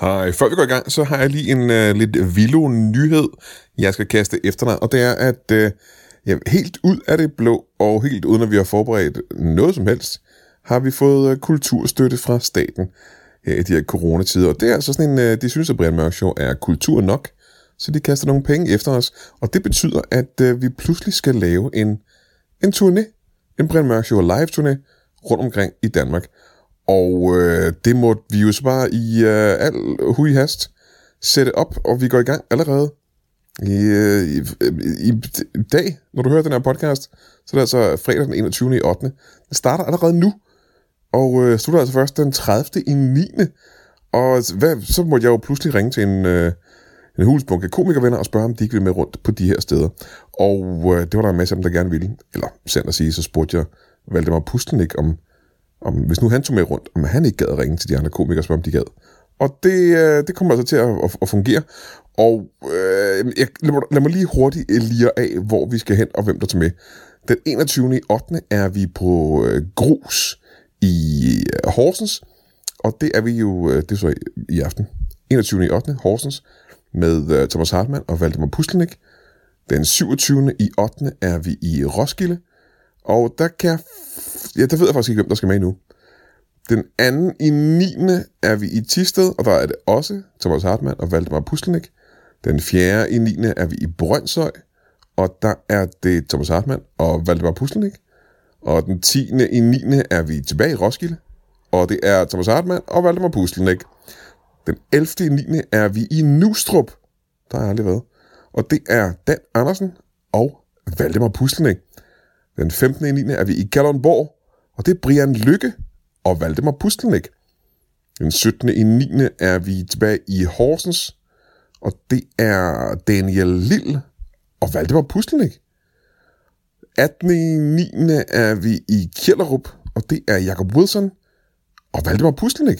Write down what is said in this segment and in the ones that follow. Hej. Før vi går i gang, så har jeg lige en øh, lidt villo nyhed, jeg skal kaste efter dig. Og det er, at øh, ja, helt ud af det blå, og helt uden at vi har forberedt noget som helst, har vi fået øh, kulturstøtte fra staten her i de her coronatider. Og det er altså sådan en, øh, de synes, at Brian Mørk Show er kultur nok, så de kaster nogle penge efter os. Og det betyder, at øh, vi pludselig skal lave en, en turné. En Brian Mørk Show live-turné rundt omkring i Danmark. Og øh, det måtte vi jo så bare i øh, al hui hast sætte op, og vi går i gang allerede i, øh, i, i, i dag, når du hører den her podcast. Så er det altså fredag den 21. i 8. Den starter allerede nu, og øh, slutter altså først den 30. i 9. Og hvad, så måtte jeg jo pludselig ringe til en, øh, en hulsbunke komikervenner og spørge, om de ikke vil med rundt på de her steder. Og øh, det var der en masse af dem, der gerne ville. Eller sandt at sige, så spurgte jeg Valdemar Pustenik, om, om hvis nu han tog med rundt, om han ikke gad at ringe til de andre komikere, og spørge, om de gad. Og det, øh, det kommer altså til at, at, at fungere. Og øh, jeg, lad, mig, lad mig lige hurtigt øh, lire af, hvor vi skal hen og hvem der tager med. Den 21. i 8. er vi på øh, Grus i øh, Horsens. Og det er vi jo, øh, det er så i, i aften, 21. i 8. Horsens, med øh, Thomas Hartmann og Valdemar Pustelnik. Den 27. i 8. er vi i Roskilde, og der kan jeg, f- ja, der ved jeg faktisk ikke, hvem der skal med nu. Den anden i 9. er vi i Tisted, og der er det også Thomas Hartmann og Valdemar Pustelnik. Den fjerde i 9. er vi i Brøndshøj, og der er det Thomas Hartmann og Valdemar Pustelnik. Og den 10. i 9. er vi tilbage i Roskilde, og det er Thomas Hartmann og Valdemar Pustelnik. Den 11. i 9. er vi i Nustrup. Der har jeg aldrig været. Og det er Dan Andersen og Valdemar Pustelnik. Den 15. i 9. er vi i Kalundborg, og det er Brian Lykke og Valdemar Pustelnik. Den 17. i 9. er vi tilbage i Horsens, og det er Daniel Lille og Valdemar Pustelnik. 18. i 9. er vi i Kjellerup, og det er Jacob Wilson og Valdemar Pustelnik.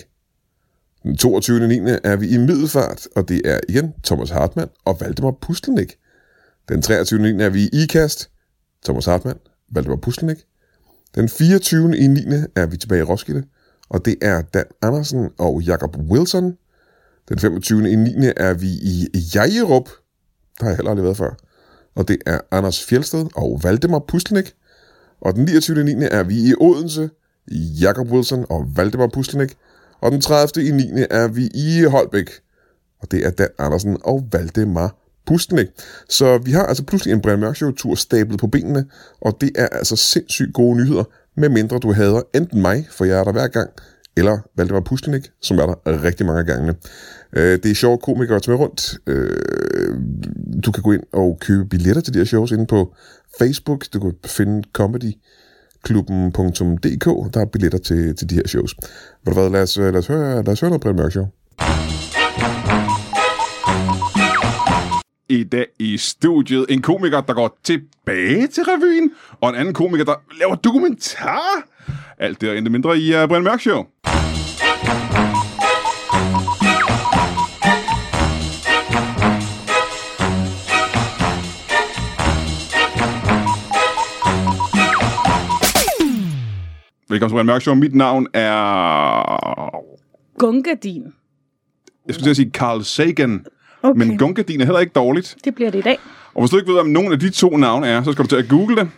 Den 22. 9. er vi i Middelfart, og det er igen Thomas Hartmann og Valdemar Pustelnik. Den 23. 9. er vi i Ikast, Thomas Hartmann, Valdemar Pustelnik. Den 24. i 9. er vi tilbage i Roskilde, og det er Dan Andersen og Jakob Wilson. Den 25. i 9. er vi i Jajerup, der har jeg heller aldrig været før, og det er Anders Fjelsted og Valdemar Pustelnik. Og den 29. i 9. er vi i Odense, Jakob Wilson og Valdemar Pustelnik. Og den 30. i 9. er vi i Holbæk, og det er Dan Andersen og Valdemar Pustenik. Så vi har altså pludselig en Brian Mørk Show-tur stablet på benene, og det er altså sindssygt gode nyheder, medmindre du hader enten mig, for jeg er der hver gang, eller Valdemar Pustenik, som er der rigtig mange af gangene. Øh, det er sjove komikere at tage med rundt. Øh, du kan gå ind og købe billetter til de her shows inde på Facebook. Du kan finde comedy klubben.dk, der er billetter til, til de her shows. Ved du hvad, lad os, øh, lad os, høre, lad os høre noget Brian Mørk Show. I dag i studiet en komiker, der går tilbage til revyen, og en anden komiker, der laver dokumentar. Alt det og endte mindre i uh, Brian Mørk Show. Velkommen til Brian Mørk Show. Mit navn er... Gungadin. Jeg skulle til at sige Carl Sagan. Okay. Men Gungadin er heller ikke dårligt. Det bliver det i dag. Og hvis du ikke ved, om nogen af de to navne er, så skal du til at google det.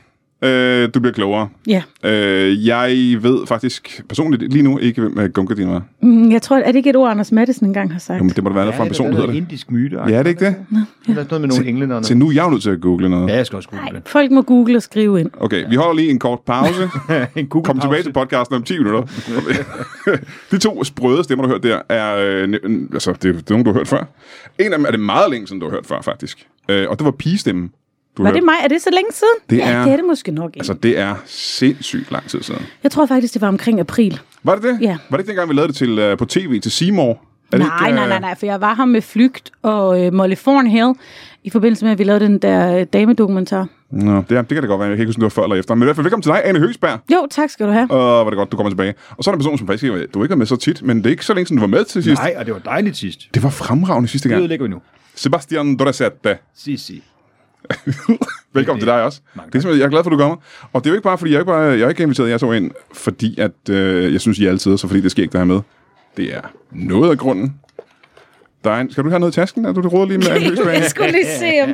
Øh, du bliver klogere. Ja. Øh, jeg ved faktisk personligt lige nu ikke, hvem øh, Gungadin var. Mm, Jeg tror, er det ikke et ord, Anders Mattesen engang har sagt? Jamen, det må da være noget fra en det person, der hedder det. indisk myte. Ja, er det ikke det? Eller sådan noget med nogle englænder. Så nu er jeg jo nødt til at google noget. Ja, jeg skal også google Nej, folk må google og skrive ind. Okay, vi holder lige en kort pause. det. en google Kom tilbage til podcasten om 10 minutter. de to sprøde stemmer, du har hørt der, er, øh, n- n- altså, det, er- det er nogen, du har hørt før. En af dem er det meget længe siden, du har hørt før, faktisk. Øh, og det var pigestemmen, du Var hørte. det mig? Er det så længe siden? Det ja, er- det er det måske nok ikke. Altså, det er sindssygt lang tid siden. Jeg tror faktisk, det var omkring april. Var det det? Ja. Var det ikke dengang, vi lavede det til, øh, på tv til Seymour? Er det Nej, ikke, øh, nej, nej, nej, for jeg var her med Flygt og øh, Molly Thornhill i forbindelse med, at vi lavede den der øh, damedokumentar. Nå, det, er- det kan det godt være. Jeg kan ikke huske, om det var før eller efter. Men i hvert fald, velkommen til dig, Anne Høgsberg. Jo, tak skal du have. Og var det godt, du kommer tilbage. Og så er der en person, som faktisk ikke, du ikke er med så tit, men det er ikke så længe siden, du var med til sidst. Nej, og det var dejligt sidst. Det var fremragende sidste Det gang. ødelægger vi nu. Sebastian Dorasette. Sig, sig. Velkommen til dig også. Mange tak. Det er simpelthen, jeg er glad for, at du kommer. Og det er jo ikke bare, fordi jeg ikke, bare, jeg er ikke inviteret jer to ind, fordi at, øh, jeg synes, I er altid, så fordi det sker ikke, der er med. Det er noget af grunden. Der er en, skal du have noget i tasken? Er du det råder lige med alle løsbanen? jeg skulle lige se, om,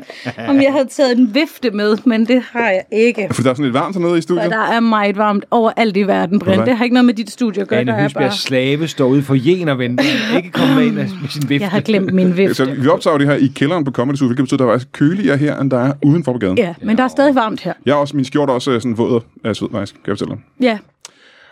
om jeg havde taget en vifte med, men det har jeg ikke. For der er sådan lidt varmt hernede i For studiet. der er meget varmt overalt i verden, Brind. Hvad? Det har ikke noget med dit studie at gøre. Der Anne er Hysbjergs bare... slave står ude for jen og venter. Ikke komme med ind med sin vifte. Jeg har glemt min Så vifte. vi optager jo det her i kælderen på Comedy Zoo, hvilket betyder, at der er faktisk køligere her, end der er udenfor på gaden. Ja, men der er stadig varmt her. Jeg er også, min skjorte er også øh, sådan våd af sved, faktisk, kan jeg fortælle dig. Ja,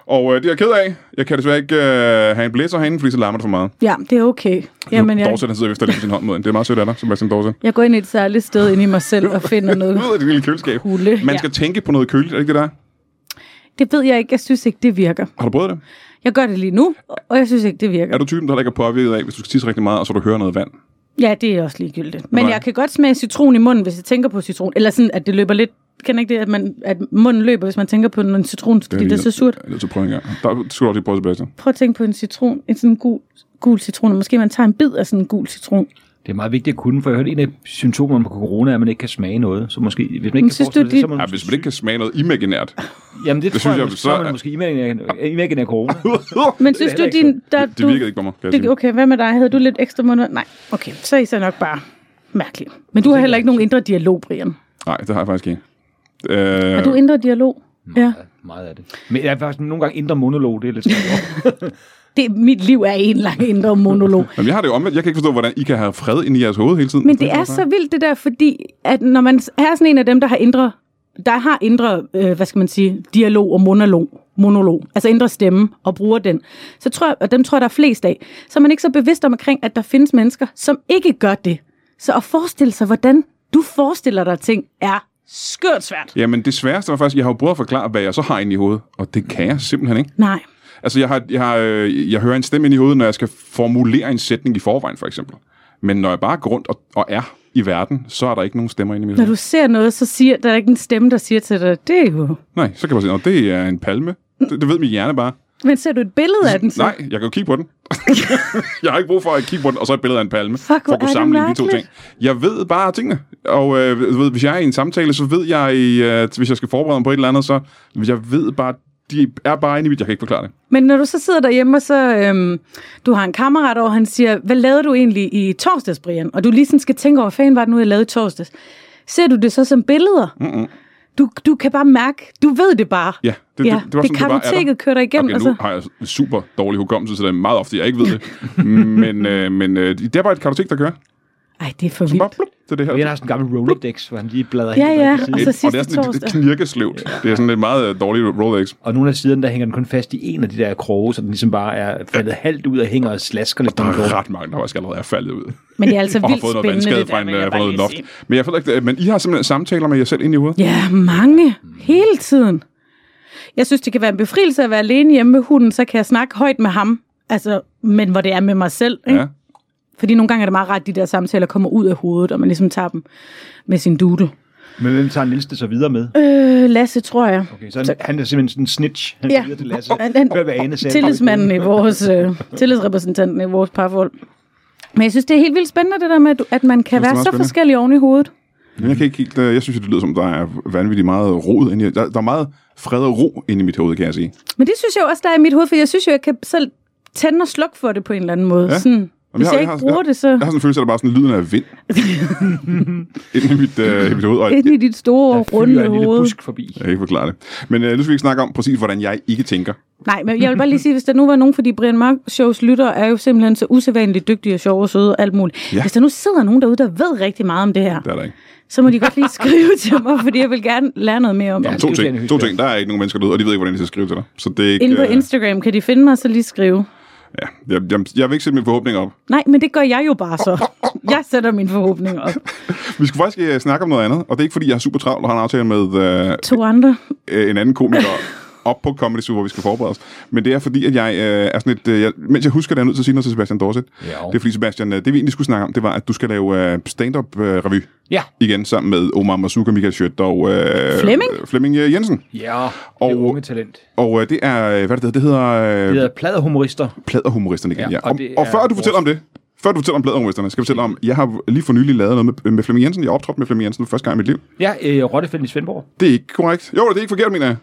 Og øh, det er jeg ked af. Jeg kan desværre ikke øh, have en blæser herinde, fordi så larmer det for meget. ja det er okay. Jamen, jeg... jeg, Dorset, han sidder og vifter lige med sin hånd mod en. Det er meget sødt af dig, Sebastian Dorset. jeg går ind et særligt sted ind i mig selv og finder noget. Ud af det lille køleskab. Kulde, Man ja. skal tænke på noget køligt, er det ikke det der? Det ved jeg ikke. Jeg synes ikke, det virker. Har du prøvet det? Jeg gør det lige nu, og jeg synes ikke, det virker. Er du typen, der heller ikke er påvirket af, hvis du skal tisse rigtig meget, og så du hører noget vand? Ja, det er også ligegyldigt. Men Nej. jeg kan godt smage citron i munden, hvis jeg tænker på citron. Eller sådan, at det løber lidt... Kan ikke det, at, man, at munden løber, hvis man tænker på en citron, fordi det er så surt? Jeg er nødt til at prøve en gang. Der skal du også lige prøve, Sebastian. Prøv at tænke på en citron, en sådan gul, gul citron, og måske man tager en bid af sådan en gul citron. Det er meget vigtigt at kunne, for jeg hørte, en af symptomerne på corona er, at man ikke kan smage noget. Så måske, hvis man ikke kan synes du, forestille de- sig, så er man... Ja, hvis man ikke kan smage noget imaginært. Jamen, det, det det synes tror jeg, jeg, jeg måske, så så er er- man måske imaginær, imaginær corona. Men synes du, heller ikke din... Der, Det virkede ikke på mig, kan jeg det, sige. okay, hvad med dig? Havde du lidt ekstra munder? Nej, okay, så er I så nok bare mærkelig. Men du har heller ikke nogen indre dialog, Brian. Nej, det har jeg faktisk ikke. Øh, Har du indre dialog? Ja. Ja, meget af det. Men jeg er faktisk nogle gange indre monolog, det er lidt svært. Det, mit liv er en lang indre monolog. Jamen, jeg har det jo omvendt. Jeg kan ikke forstå, hvordan I kan have fred inde i jeres hoved hele tiden. Men det er så vildt det der, fordi at når man er sådan en af dem, der har indre, der har indre, øh, hvad skal man sige, dialog og monolog, monolog, altså indre stemme og bruger den, så tror jeg, og dem tror jeg, der er flest af, så er man ikke så bevidst omkring, at der findes mennesker, som ikke gør det. Så at forestille sig, hvordan du forestiller dig ting, er skørt svært. Jamen, det sværeste var faktisk, jeg har jo prøvet at forklare, hvad jeg så har inde i hovedet, og det kan jeg simpelthen ikke. Nej. Altså, jeg, har, jeg, har, øh, jeg hører en stemme ind i hovedet, når jeg skal formulere en sætning i forvejen, for eksempel. Men når jeg bare går rundt og, og er i verden, så er der ikke nogen stemmer inde i mit Når hoved. du ser noget, så siger, der er ikke en stemme, der siger til dig, det er jo... Nej, så kan man sige, at det er en palme. Det, det ved min hjerne bare. Men ser du et billede af den, så Nej, jeg kan jo kigge på den. jeg har ikke brug for at kigge på den, og så et billede af en palme. hvor for at er kunne det sammenligne de to ting. mærkeligt. Jeg ved bare tingene. Og øh, du ved, hvis jeg er i en samtale, så ved jeg, øh, at hvis jeg skal forberede mig på et eller andet, så jeg ved bare, de er bare inde i mit. Jeg kan ikke forklare det. Men når du så sidder derhjemme, og så øhm, du har en kammerat over, han siger, hvad lavede du egentlig i torsdags, Brian? Og du lige sådan skal tænke over, hvad fanden var det nu, jeg lavede i torsdags? Ser du det så som billeder? Mm-mm. Du, du kan bare mærke, du ved det bare. Ja, det, ja, det, det, var det sådan, bare er der. kartoteket kører dig igennem. altså. Okay, og nu så- har jeg super dårlig hukommelse, så det er meget ofte, jeg ikke ved det. men øh, men øh, det er bare et kartotek, der kører. Ej, det er for Bare vildt. plup, det er det her. Og jeg har sådan en gammel Rolodex, hvor han lige bladrer Ja, helt ja, op til og siden. så og det er sidste sådan lidt, torsdag. lidt knirkeslevt. Det er sådan et meget øh, dårligt Rolex. Og nogle af siderne, der hænger den kun fast i en af de der kroge, så den ligesom bare er faldet halvt ud og hænger og slasker lidt. Der på den er kort. ret mange, der faktisk allerede er faldet ud. Men det er altså Og har vildt fået noget spændende, vandskade det fra, der, en, vil øh, jeg fra bare noget lige loft. sige. Men jeg føler ikke, det- men I har simpelthen samtaler med jer selv ind i hovedet. Ja, mange. Hele tiden. Jeg synes, det kan være en befrielse at være alene hjemme med hunden, så kan jeg snakke højt med ham. Altså, men hvor det er med mig selv. Ikke? Ja. Fordi nogle gange er det meget rart, at de der samtaler kommer ud af hovedet, og man ligesom tager dem med sin dute. Men hvem tager Niels det så videre med? Øh, Lasse, tror jeg. Okay, så han, han er simpelthen sådan en snitch. Han Ja. ja. til Lasse. Han- han- Hør, hvad Ane sagde. Tillidsmanden i vores, øh, tillidsrepræsentanten i vores parforhold. Men jeg synes, det er helt vildt spændende, det der med, at- at man kan det er være meget så spændende. forskellig oven i hovedet. Men jeg kan ikke helt, øh, jeg synes, jo, det lyder som, der er vanvittigt meget rod inde i, der, der er meget fred og ro inde i mit hoved, kan jeg sige. Men det synes jeg jo også, der er i mit hoved, for jeg synes jo, jeg kan selv tænde og slukke for det på en eller anden måde. Ja. Ja. Sådan, hvis har- jeg, har- ikke bruger jeg, det, så Jeg har sådan en følelse, at der bare er sådan lyden af vind inde i mit, øh, i mit hoved. Og ind i dit store, Der runde fyrer en lille hoved. busk forbi. Jeg kan ikke forklare det. Men øh, nu skal vi ikke snakke om præcis, hvordan jeg ikke tænker. Nej, men jeg vil bare lige sige, hvis der nu var nogen, fordi Brian Mørk Shows lytter er jo simpelthen så usædvanligt dygtige og sjove og søde og alt muligt. Ja. Ja. Hvis der nu sidder nogen derude, der ved rigtig meget om det her, Det er der ikke. så må de godt lige skrive til mig, fordi jeg vil gerne lære noget mere om Ja. det. To det er ting. Janne To Hysbjerg. ting. Der er ikke nogen mennesker derude, og de ved ikke, hvordan de skal skrive til dig. Så det er ikke... Inde på øh, Instagram kan de finde mig, så lige skrive. ja. jeg, jeg, jeg vil ikke sætte mine forhåbninger op. Nej, men det gør jeg jo bare så. Jeg sætter mine forhåbninger op. Vi skal faktisk øh, snakke om noget andet, og det er ikke, fordi jeg er super travlt og har en aftale med øh, To andre. øh, en anden komiker op på Comedy Zoo, hvor vi skal forberede os. Men det er fordi, at jeg øh, er sådan et... Øh, jeg, mens jeg husker det, er jeg nødt til at sige noget til Sebastian Dorset. Ja. Det er fordi, Sebastian, øh, det vi egentlig skulle snakke om, det var, at du skal lave øh, stand-up-revy Ja. igen sammen med Omar Masuka, Michael Schødt og... Øh, Flemming? Flemming øh, Jensen. Ja, Og- det unge talent. Og øh, det er... øh, Hvad er det, det hedder? Det hedder øh, Det hedder pladerhumorister. pladerhumoristerne igen. Ja, Ja, ja. og Og, og, det og er før du vores- fortæller om det, Før du fortæller om bladerumesterne, skal jeg fortælle om, jeg har lige for nylig lavet noget med, med Flemming Jensen. Jeg har optrådt med Flemming Jensen for første gang i mit liv. Ja, øh, Rottefælden i Svendborg. Det er ikke korrekt. Jo, det er ikke forkert, mener jeg.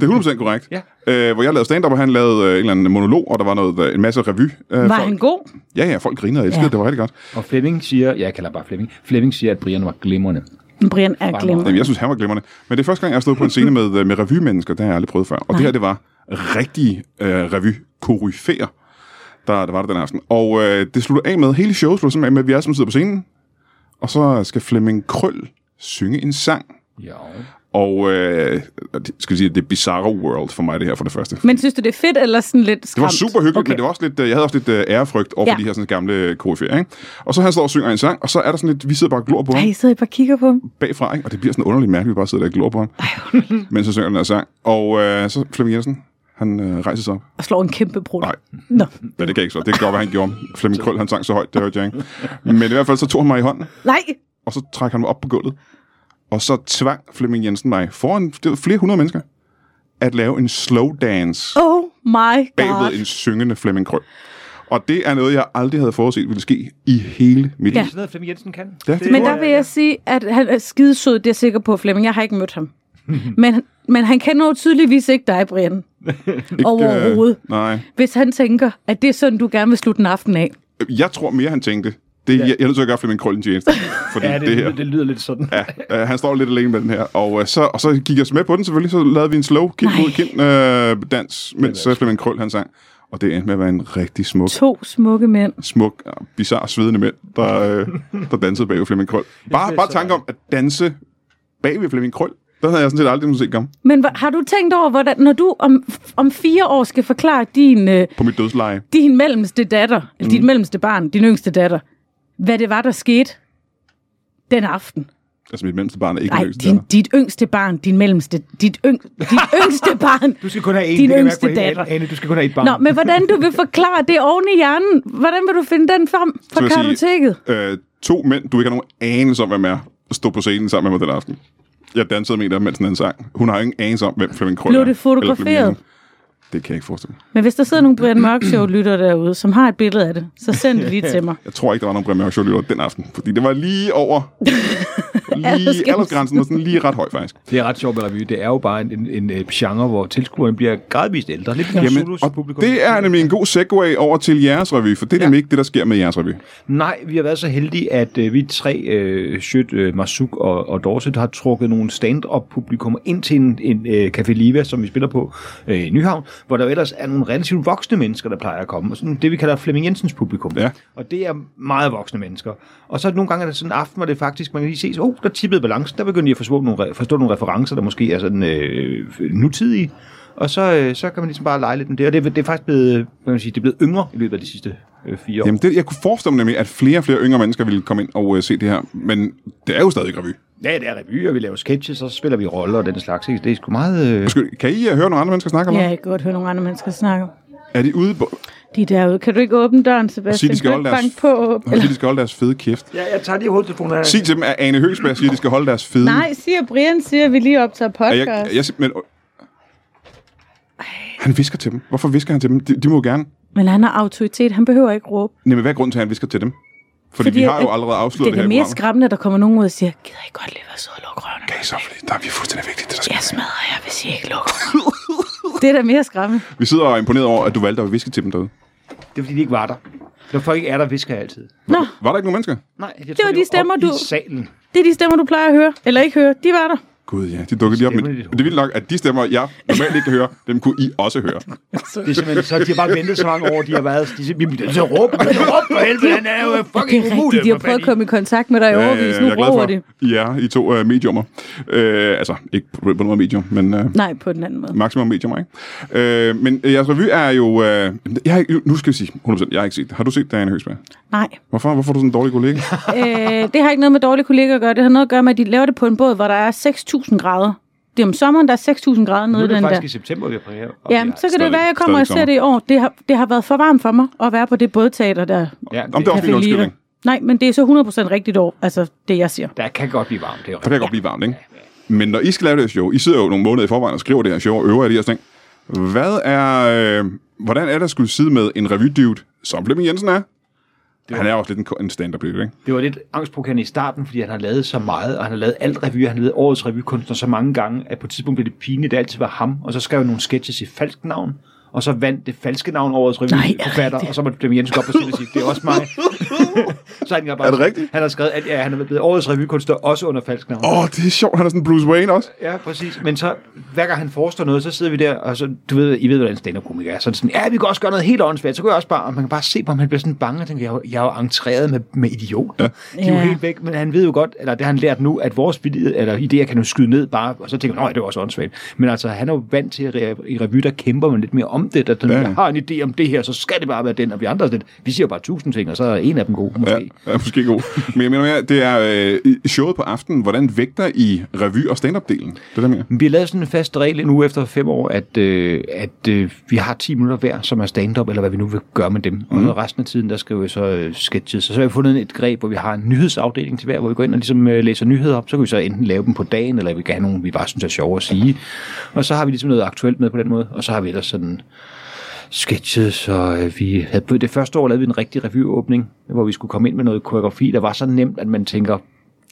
Det er 100% korrekt. Ja. øh, hvor jeg lavede stand-up, og han lavede øh, en eller anden monolog, og der var noget, en masse revy. Øh, Var folk- han god? Ja, ja, folk grinede og elskede, ja. Ja. det var rigtig godt. Og Flemming siger, ja, jeg kalder ham bare Flemming, Flemming siger, at Brian var glimrende. Brian er glemt. Jamen, jeg synes, han var glimrende. Men det er første gang, jeg har stået på en scene med, øh, med revymennesker, det har jeg aldrig prøvet før. Og Nej. det her, det var rigtig øh, revy koryfæer der, der var der den aften. Og øh, det slutter af med, hele showet slutter simpelthen af med, at vi alle sammen sidder på scenen, og så skal Flemming Krøl synge en sang. Ja. Og øh, og det- skal vi sige, det er Bizarro World for mig, det her for det første. Men synes du, det er fedt, eller sådan lidt Det var skræmt? super hyggeligt, okay. men det var også lidt, øh, jeg havde også lidt øh, ærefrygt over ja. Ja. de her sådan, gamle koryfæer, ikke? Og så han står og synger en sang, og så er der sådan lidt, vi sidder bare og glor på ham Ej, sidder I bare og kigger på ham? bagfra, ikke? og det bliver sådan underligt mærkeligt, at vi bare sidder der og glor på ham, mens han synger den her sang. Og øh, så Flemming Jensen, han øh, rejser sig op. Og slår en kæmpe brud. Nej. Nå. Ja, det kan jeg ikke så. Det kan godt være, han gjorde. Flemming Krøl, han sang så højt, det hørte jeg ikke. Men i hvert fald, så tog han mig i hånden, Nej, og så trak han mig op på gulvet. Og så tvang Flemming Jensen mig foran det var flere hundrede mennesker at lave en slow dance oh my god. bagved en syngende Flemming Krøl. Og det er noget, jeg aldrig havde forudset ville ske i hele mit liv. Ja. Ja. Sådan noget, Flemming Jensen kan. Ja. Men der vil jeg sige, at han er skidesød, det er jeg sikker på, Flemming. Jeg har ikke mødt ham. Men, men han kender jo tydeligvis ikke dig, Brian. øh. Overhovedet. nej. Hvis han tænker, at det er sådan, du gerne vil slutte en aften af. Jeg tror mere, han tænkte. Det, ja. jeg, jeg er nødt til at gøre Flemming Krøl en tjeneste. Fordi Ja, det, det her... det, det lyder lidt sådan. Ja. Ja, øh, han står lidt alene med den her. Og, øh, så, og så gik jeg så med på den selvfølgelig, så lavede vi en slow kind Nej. mod kind øh, dans, mens øh, Flemming Krøl han sang. Og det endte med at være en rigtig smuk, To smukke mænd. smuk, øh, bizarre, svedende mænd, der, øh, der dansede bag ved Flemming Krøl. Bare, bare tanke om at danse bag ved Flemming Krøl. Den havde jeg sådan set aldrig nogensinde set komme Men hvor- har du tænkt over, hvordan, når du om, om fire år skal forklare din, øh, på mit dødsleje. din mellemste datter, mm. dit mellemste barn, din yngste datter, hvad det var, der skete den aften? Altså mit mellemste barn er ikke Nej, den yngste din, datter. dit yngste barn, din mellemste, dit, yng, dit yngste barn. Du skal kun have en. Din det kan jeg yngste mærke på hende. datter. Anne, du skal kun have et barn. Nå, men hvordan du vil forklare det oven i hjernen? Hvordan vil du finde den frem Så fra vil jeg sige, kartoteket? Øh, to mænd, du ikke har nogen anelse om, hvem er, stod på scenen sammen med mig den aften. Jeg dansede med en af dem, mens den anden sang. Hun har jo ingen anelse om, hvem Flemming Krøl Blev er, det eller Flemming fotograferet? Jensen. Det kan jeg ikke forestille mig. Men hvis der sidder nogle Brian Mørk Show lytter derude, som har et billede af det, så send det lige til mig. Jeg tror ikke, der var nogen Brian Mørk Show lytter den aften, fordi det var lige over lige Aldersgrænsen. aldersgrænsen, var sådan lige ret høj faktisk. Det er ret sjovt med revy. Det er jo bare en, en, en øh, genre, hvor tilskuerne bliver gradvist ældre. Lidt ligesom Zulus og publikum. det er nemlig en god segue over til jeres revy, for det er Ja. nemlig ikke det, der sker med jeres revy. Nej, vi har været så heldige, at øh, vi tre, øh, Schødt, øh, Masuk og, og Dorset, har trukket nogle stand-up publikummer ind til en, en øh, Café Liva, som vi spiller på øh, i Nyhavn, hvor der jo ellers er nogle relativt voksne mennesker, der plejer at komme. Og sådan det, vi kalder Flemming Jensens publikum. Ja. Og det er meget voksne mennesker. Og så nogle gange er der sådan en aften, hvor det faktisk, man kan lige se, åh, oh, der tippede balancen, der begyndte de at forstå nogle, re- forstå nogle referencer, der måske er sådan øh, nutidige. Og så, øh, så kan man ligesom bare lege lidt med det, og det, er- det er faktisk blevet, øh, hvad kan man sige, det er blevet yngre i løbet af de sidste øh, fire år. Jamen, det, jeg kunne forestille mig nemlig, at flere og flere yngre mennesker ville komme ind og øh, se det her, men det er jo stadig revy. Ja, det er revyer, vi laver sketches, og så spiller vi roller og den slags. Ikke? Det er sgu meget... Øh... Undskyld, kan I øh, høre nogle andre mennesker snakke om Ja, noget? jeg kan godt høre nogle andre mennesker snakke. Er de ude på, De derude. Kan du ikke åbne døren, Sebastian? Sig, de skal Kan du holde ikke deres- banke på? og de skal holde deres fede kæft? Ja, jeg tager lige hovedtelefonen af. Sig til dem, at Ane Høgsberg siger, at de skal holde deres fede... Nej, siger Brian, siger vi lige optager Er podcast. jeg, er jeg, men, han visker til dem. Hvorfor visker han til dem? De, de må jo gerne... Men han har autoritet, han behøver ikke råbe. Nej, men hvad er grunden til, at han visker til dem? Fordi, Fordi Fordi vi har jo at- allerede Det afsløret er det, da her mere i programmet. skræmmende, at der kommer nogen ud og siger, gider I godt lige være søde og lukke røven? Okay, så fordi der er vi fuldstændig vigtigt, det der sker. Jeg smadrer jer, hvis I ikke lukker røven." Det er da mere skræmmende. Vi sidder og er imponeret over, at du valgte at viske til dem derude. Det er fordi, de ikke var der. Når folk ikke er der, visker jeg altid. Nå, Var der ikke nogen mennesker? Nej, jeg tror, var de op stemmer, du- I salen. det er de stemmer, du plejer at høre. Eller ikke høre. De var der. Gud ja, de dukkede lige op. Med, Stemmer i det dit hoved. er vildt nok, at de stemmer, jeg normalt ikke kan høre, dem kunne I også høre. Det er simpelthen, så de har bare ventet så mange år, de har været... De siger, vi bliver nødt til at råbe, vi bliver nødt til at råbe for helvede, han er jo Det fucking er rigtigt, umulig. de har prøvet at komme i kontakt med dig i overvis. Nu Øh, jeg er glad råber de. for, ja, I to uh, mediummer. Uh, altså, ikke på, på nogen måde medium, men... Uh, Nej, på den anden måde. Maximum medium, ikke? Øh, men øh, jeres revy er jo... Øh, jeg, har ikke- nu skal vi sige 100%, jeg har ikke set det. Har du set det, Anne Høgsberg? Nej. Hvorfor, hvorfor er du sådan en dårlig kollega? Øh, det har ikke noget med dårlige kolleger at gøre. Det har noget at gøre med, at de laver det på en båd, hvor der er 6.000 grader. Det er om sommeren, der er 6.000 grader Nu nede er i det den der. faktisk i september, vi har premiere. og Ja, vi har- så kan stadig- det være, at jeg kommer og stadig ser det i år. Det har, det har været for varmt for mig at være på det bådteater, der Ja, Om det er også min Café Liva. undskyldning. Nej, men det er så 100% rigtigt år, altså det jeg siger. Der kan godt blive varmt, det er jo Der kan jeg godt blive varmt, ikke? Men når I skal lave det her show, I sidder jo nogle måneder i forvejen og skriver det her show og øver jer i de her ting. Hvad er, øh, hvordan er der skulle sidde med en revydude, som Flemming Jensen er, Det han er også lidt en, ko- en stand-up, ikke? Det var lidt angstprovokerende i starten, fordi han har lavet så meget, og han har lavet alt revy, og han har lavet årets revykunstner så mange gange, at på et tidspunkt blev det pinligt, at det altid var ham, og så skrev han nogle sketches i falsk navn, og så vandt det falske navn årets revyforfatter, og så måtte Flemming Jensen gå op og sige, og sige, det er også mig. så han bare, Er det rigtigt? Han har skrevet, at ja, han er blevet årets revykunstner også under falsk navn. Åh, oh, det er sjovt. Han er sådan Bruce Wayne også. Ja, præcis. Men så, hver gang han forestår noget, så sidder vi der, og så, du ved, I ved, hvordan stand komiker er. Så er det sådan, ja, vi kan også gøre noget helt åndssvagt. Så kan jeg også bare, og man kan bare se på, om han bliver sådan bange, og tænker, jeg, er jo- jeg er jo entreret med, med idioter. Ja. De er jo Ja. helt væk, men han ved jo godt, eller det har han lært nu, at vores vilje, eller idéer kan jo skyde ned bare, og så tænker han, nej, det var også åndssvagt. Men altså, han er jo vant til, at re- i revy, der kæmper man lidt mere om det, at når Ja. ja. har en idé om det her, så skal det bare være den, og vi andre er sådan lidt, vi siger jo bare tusind ting, og så er en af dem god, måske. Ja, er måske god. Men jeg mener mere, det er øh, showet på aftenen. Hvordan vægter I revy- og stand-up-delen? Det er der mere. Men Vi har lavet sådan en fast regel nu efter fem år, at, øh, at øh, vi har 10 minutter hver, som er stand-up, eller hvad vi nu vil gøre med dem. Mm. Og så resten af tiden, der skriver vi så øh, sketches. Og så har vi fundet et greb, hvor vi har en nyhedsafdeling til hver, hvor vi går ind og ligesom, øh, læser nyheder op. Så kan vi så enten lave dem på dagen, eller vi kan have nogle, vi bare synes er sjove at sige. Og så har vi ligesom noget aktuelt med på den måde. Og så har vi ellers sådan sketches, og øh, vi havde på det første år lavede vi en rigtig revyåbning, hvor vi skulle komme ind med noget koreografi, der var så nemt, at man tænker,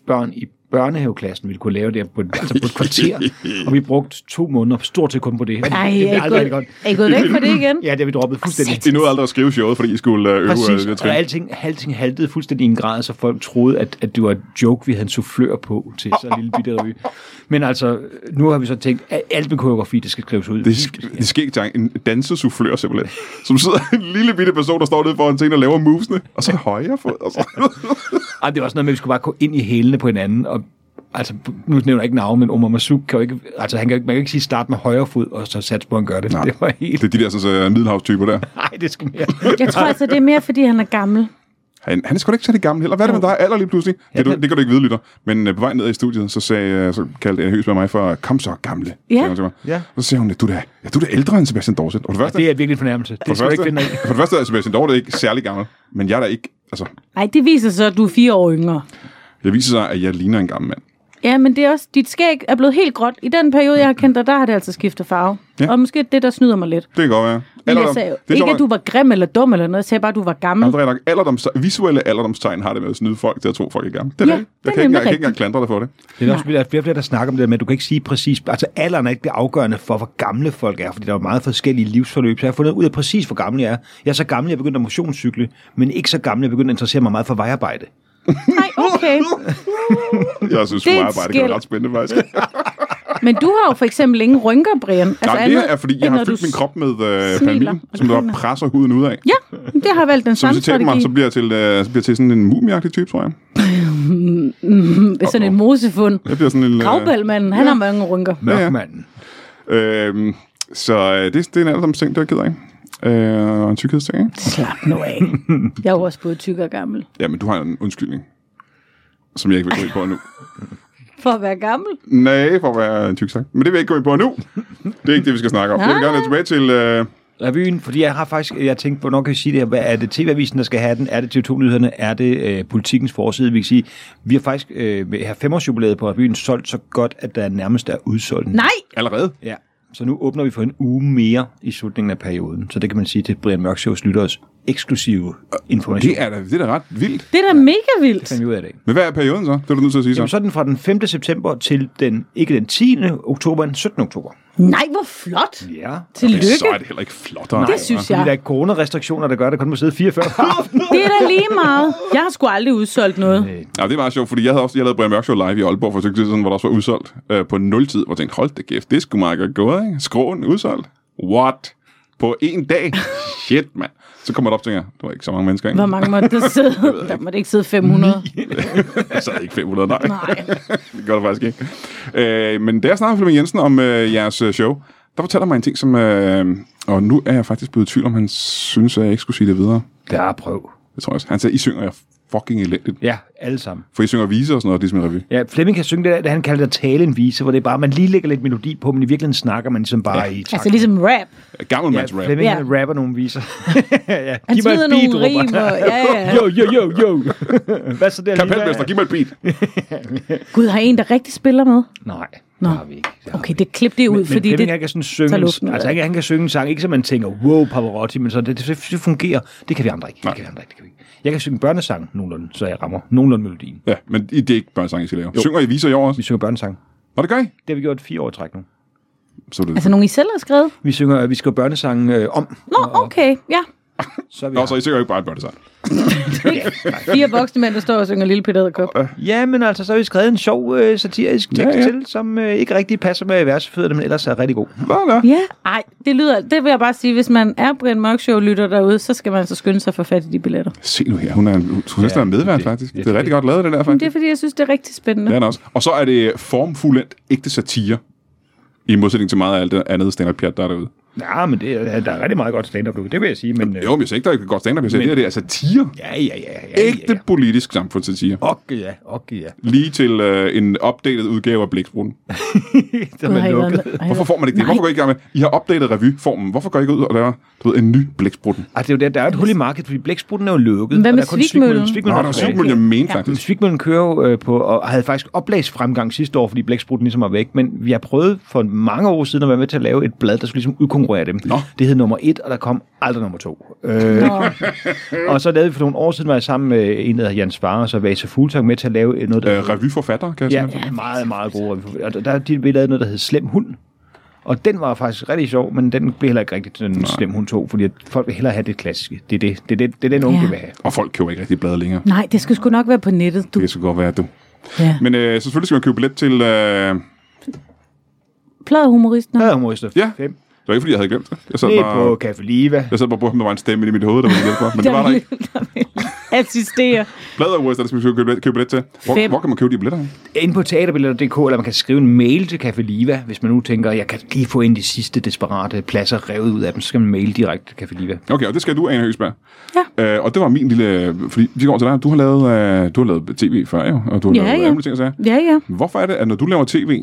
børn i børnehaveklassen ville kunne lave det her på, et- altså på et kvarter, og vi brugte to måneder stort set kun på det. Og det- Ej, det er blev I aldrig rigtig gået, er I gået væk fra det igen? Ja, det har vi droppet fuldstændig. I nåede aldrig at skrive showet, fordi I skulle øh, øve Præcis, øh, det og trin. alting, alting haltede fuldstændig i en grad, så folk troede, at, at det var en joke, vi havde en soufflør på til så en lille bitte revy. Men altså, nu har vi så tænkt, at alt med koreografi, det skal skrives ud. Det er, sk- det er skægt, Jan. En dansesoufflør simpelthen. Som sidder en lille bitte person, der står nede foran scenen og laver movesene. Og så højre fod. Og så. Ej, det var også noget med, at vi skulle bare gå ind i hælene på hinanden, og altså, nu nævner jeg ikke navn, men Omar Masuk kan jo ikke, altså, han kan, jo ikke- man kan ikke sige start med højre fod, og så sats på, at han gør det. Nej. Det var helt... Det er de der sådan, uh, middelhavstyper der. Nej, det skal mere. Jeg tror altså, det er mere, fordi han er gammel. Han, han er sgu da ikke særlig gammel heller. Hvad er det med dig? Alder lige pludselig? Det, du, kan- det kan du ikke vide, lytter. Men øh, på vej ned i studiet, så, sagde, øh, så kaldte Anne Høsberg mig for, kom så gamle. Ja. sagde hun til mig. Ja. Så sagde hun, du er da, ja, du er da ældre end Sebastian Dorset. Og for det første, Det er virkelig en fornærmelse. Det for skal du det ikke finde dig første, i. for det første er Sebastian Dorset ikke særlig gammel. Men jeg er da ikke, altså, Nej, det viser så, at du er fire år yngre. jeg viser sig, at jeg ligner en gammel mand. Ja, men det er også, dit skæg er blevet helt gråt. I den periode, jeg har kendt dig, der har det altså skiftet farve. Ja. Ja. Og måske det, der snyder mig lidt. Det kan godt være. Men jeg Alderdom. sagde jo det er Altså. ikke, sjovt at du nok. var grim eller dum eller noget. Jeg sagde bare, at du var gammel. Aldrig nok. Alderdoms, visuelle alderdomstegn har det med at snyde folk til at tro, folk er gamle. Det er Ja, rigtigt. det jeg, er kan ikke, nemlig jeg kan ikke engang rigtigt. klandre dig for det. Det er også der er flere, og flere, der snakker om det der med, at du kan ikke sige præcis, altså alderen er ikke det afgørende for, hvor gamle folk er, fordi der er jo meget forskellige livsforløb, så jeg har fundet ud af præcis, hvor gammel jeg er. Jeg er så gammel, jeg er begyndt at motionscykle, men ikke så gammel, jeg er begyndt at interessere mig meget for vejarbejde. Nej, okay. Jeg synes, Det det, er et arbejde, det kan være skel. ret spændende, faktisk. Altså, Men du har jo for eksempel ingen rynker, Brian. Altså Nej, det er, fordi end jeg har når fyldt du min krop med øh, smiler palmin, og som der griner. presser huden ud af. Ja, det har valgt den Så hvis samme I taber mig, strategi. så bliver jeg til, øh, så bliver jeg til sådan en mumieagtig type, tror jeg. Det er sådan et mosefund. Jeg bliver sådan en... øh, Gravbælmanden, han har mange rynker. Mørkmanden. Øh, så øh, det, det er en alderdomsting, der gider ikke. Øh, og en tykkhedsting, ikke? Slap nu af. Jeg er jo også både tyk og gammel. Ja, men du har en undskyldning, som jeg ikke vil gå ind på nu. For at være gammel? Nej, for at være en tyk sagt. Men det vil jeg ikke gå ind på nu. Det er ikke det, vi skal snakke om. Jeg vil gerne tilbage til... Øh, revyen, fordi jeg har faktisk, jeg tænkte, hvornår kan jeg sige det her? Hvad er det TV-avisen, der skal have den? Er det TV2-nyhederne? Er det øh, politikens forside? Vi kan sige, vi har faktisk øh, ved her femårsjubilæet på revyen solgt så godt, at der nærmest er udsolgt. Nej! allerede? Ja. Så nu åbner vi for en uge mere i slutningen af perioden. Så det kan man sige til Brian Mørkshows lytteres eksklusive information. Det er da, det er da ret vildt. Det er da mega vildt. fandt vi ud af i dag. Men hvad er perioden så? Det er du nødt til at sige så. Jamen, så er den fra den 5. september til den, ikke den 10. oktober, den 17. oktober. Nej, hvor flot. Ja. Tillykke. Så er det heller ikke flottere. Det synes Fordi jeg. der er coronarestriktioner, der gør, at der kun må sidde 44 på aftenen. Det er da lige meget. Jeg har sgu aldrig udsolgt noget. Ja, det var sjovt, fordi jeg havde også jeg lavede Brian Mørk Show live i Aalborg for et stykke tid siden, hvor der også var udsolgt øh, på 0 tid, hvor jeg tænkte, hold da kæft, det skulle meget godt gået, ikke? Skråen udsolgt. What? På en dag? Shit, mand. Så kommer jeg op og tænker, der var ikke så mange mennesker, Hvor ikke? mange måtte der sidde? Der måtte ikke sidde 500. Jeg sad Altså, ikke 500, nej. Nej. det gør det faktisk ikke. Øh, men da jeg snakkede med Flemming Jensen om øh, jeres øh, show, der fortæller mig en ting, som... Øh, og nu er jeg faktisk blevet i tvivl om, han synes, at jeg ikke skulle sige det videre. Der er prøv. Det tror jeg også. Han sagde, I synger jer fucking elendigt. Ja, alle sammen. For I synger viser og sådan noget, det er som en revy. Ja, Flemming kan synge det, der, det, han kalder det at tale en vise, hvor det er bare, man lige lægger lidt melodi på, men i virkeligheden snakker man ligesom bare ja. i takt. Altså ligesom rap. Gammel ja, mands rap. Flemming Ja. ja. rapper nogle viser. ja, Han giv mig et smider beat, nogle råber han. rimer. Ja, ja. Jo, jo, jo, jo. Hvad så der? lille? Kapelmester, giv mig et beat. Gud, har en, der rigtig spiller med? Nej. Nå. Det har vi ikke. Det har Okay, det klip det ud, men, fordi men det... Flemming, han kan sådan synge, tager en- luften ud altså af han kan, han kan synge en sang, ikke så man tænker, wow, Pavarotti, men så det, det, det fungerer. Det kan vi andre ikke. Det kan vi andre ikke. Det kan vi ikke. Jeg kan synge børnesang nogenlunde, så jeg rammer nogenlunde melodien. Ja, men I- det er ikke børnesang, I skal lave. Synger I viser i år også? Vi synger børnesang. Nå, det gør I. Det har vi gjort fire år i træk nu. Så er det. Altså, nogen I selv har skrevet? Vi synger, vi skriver børnesang øh, om. Nå, okay, ja. Så er vi Nå, så I synger ikke bare et børnesang. Fire voksne mænd, der står og synger Lille Peter Edderkop. Ja, men altså, så har vi skrevet en sjov øh, satirisk tekst ja, ja. ja. til, som øh, ikke rigtig passer med versefødderne, men ellers er rigtig god. Nå, nå. Ja, ej, det lyder... Det vil jeg bare sige, hvis man er Brian Mørk Show lytter derude, så skal man altså skynde sig at få fat i de billetter. Se nu her, hun er, hun, hun ja, er medvært, det- faktisk. det- Det er rigtig godt lavet, det der, Men det er, faktisk. fordi jeg synes, det er rigtig spændende. Det er det også. Og så er det øh, formfuldendt ægte satire. I modsætning til meget af alt det andet stand pjat der er derude. Ja, men det, er- der er rigtig meget godt stand-up, det vil jeg sige, men... Øh, Jo, men jeg siger ikke, der er ikke godt stand-up. Jeg siger, Men- det her det er satire. Ja, ja, ja. ja Ægte Ja, politisk samfundssatire. ja. Okay, ja. Okay, ja. Lige til øh, en opdateret udgave af Blæksprutten. det Gud, har er I været lukket. med- har I Hvorfor været- får man ikke det? Hvorfor går I ikke i gang med? I har opdateret revyformen. Hvorfor går I ikke ud og laver du ved, en ny Blæksprutten? Altså, det er jo der, der er et hul i markedet, fordi blæksprutten er jo lukket. Hvad og med der er kun Svigmøllen? Nå, Svigmøllen der er var tilbage. syv millioner mene, Men faktisk. Svigmøllen kører jo øh, på, og havde faktisk oplagsfremgang sidste år, fordi blæksprutten ligesom var væk, men vi har prøvet for mange år siden at være med til at lave et blad, der skulle ligesom udkonkurrere dem. Nå. Det hed nummer et, og der kom aldrig nummer to. Øh, Nå, og så lavede vi for nogle år siden, var jeg sammen med en, der hedder Jens Farer, og så Vase Fugltang med til at lave noget, der Øh, revyforfatter, kan jeg Ja, sige. ja, meget, meget gode. revy- Og der, de, vi lavede noget, der hed Slem Hund. Og den var faktisk rigtig sjov, men den blev heller ikke rigtig den Nej. Slem Hund 2, fordi at folk vil hellere have det klassiske. Det er det, det, er det, det, er den unge, Ja. ja. vil have. Og folk køber ikke rigtig blade længere. nej, det skal sgu nok være på nettet, du. Det skulle godt være, du. Ja. Men øh, så selvfølgelig skal man købe billet til... Øh... Pladehumoristen. Der er humorister. Ja, Fem. det var ikke, fordi jeg havde glemt det. Jeg sad Ned bare, på Café Liva. jeg sad bare på, at der var en stemme inde i mit hoved, der var hjælp for. Men det var der ikke. Assisterer. Blader Awards, der skal man købe billet, købe billet til. Hvor, Fem. hvor, kan man købe de billetter? Inde på teaterbilletter.dk, eller man kan skrive en mail til Café Liva, hvis man nu tænker, jeg kan lige få en de sidste desperate pladser revet ud af dem, så skal man mail direkte til Café Liva. Okay, og det skal du, Ane Høgsberg. Ja. Øh, og det var min lille... Fordi vi går til dig. Du har lavet, øh, du har lavet tv før, jo? Og du har Ja, lavet ja. alle mulige ting, og sager. Ja, ja. Hvorfor er det, at når du laver tv...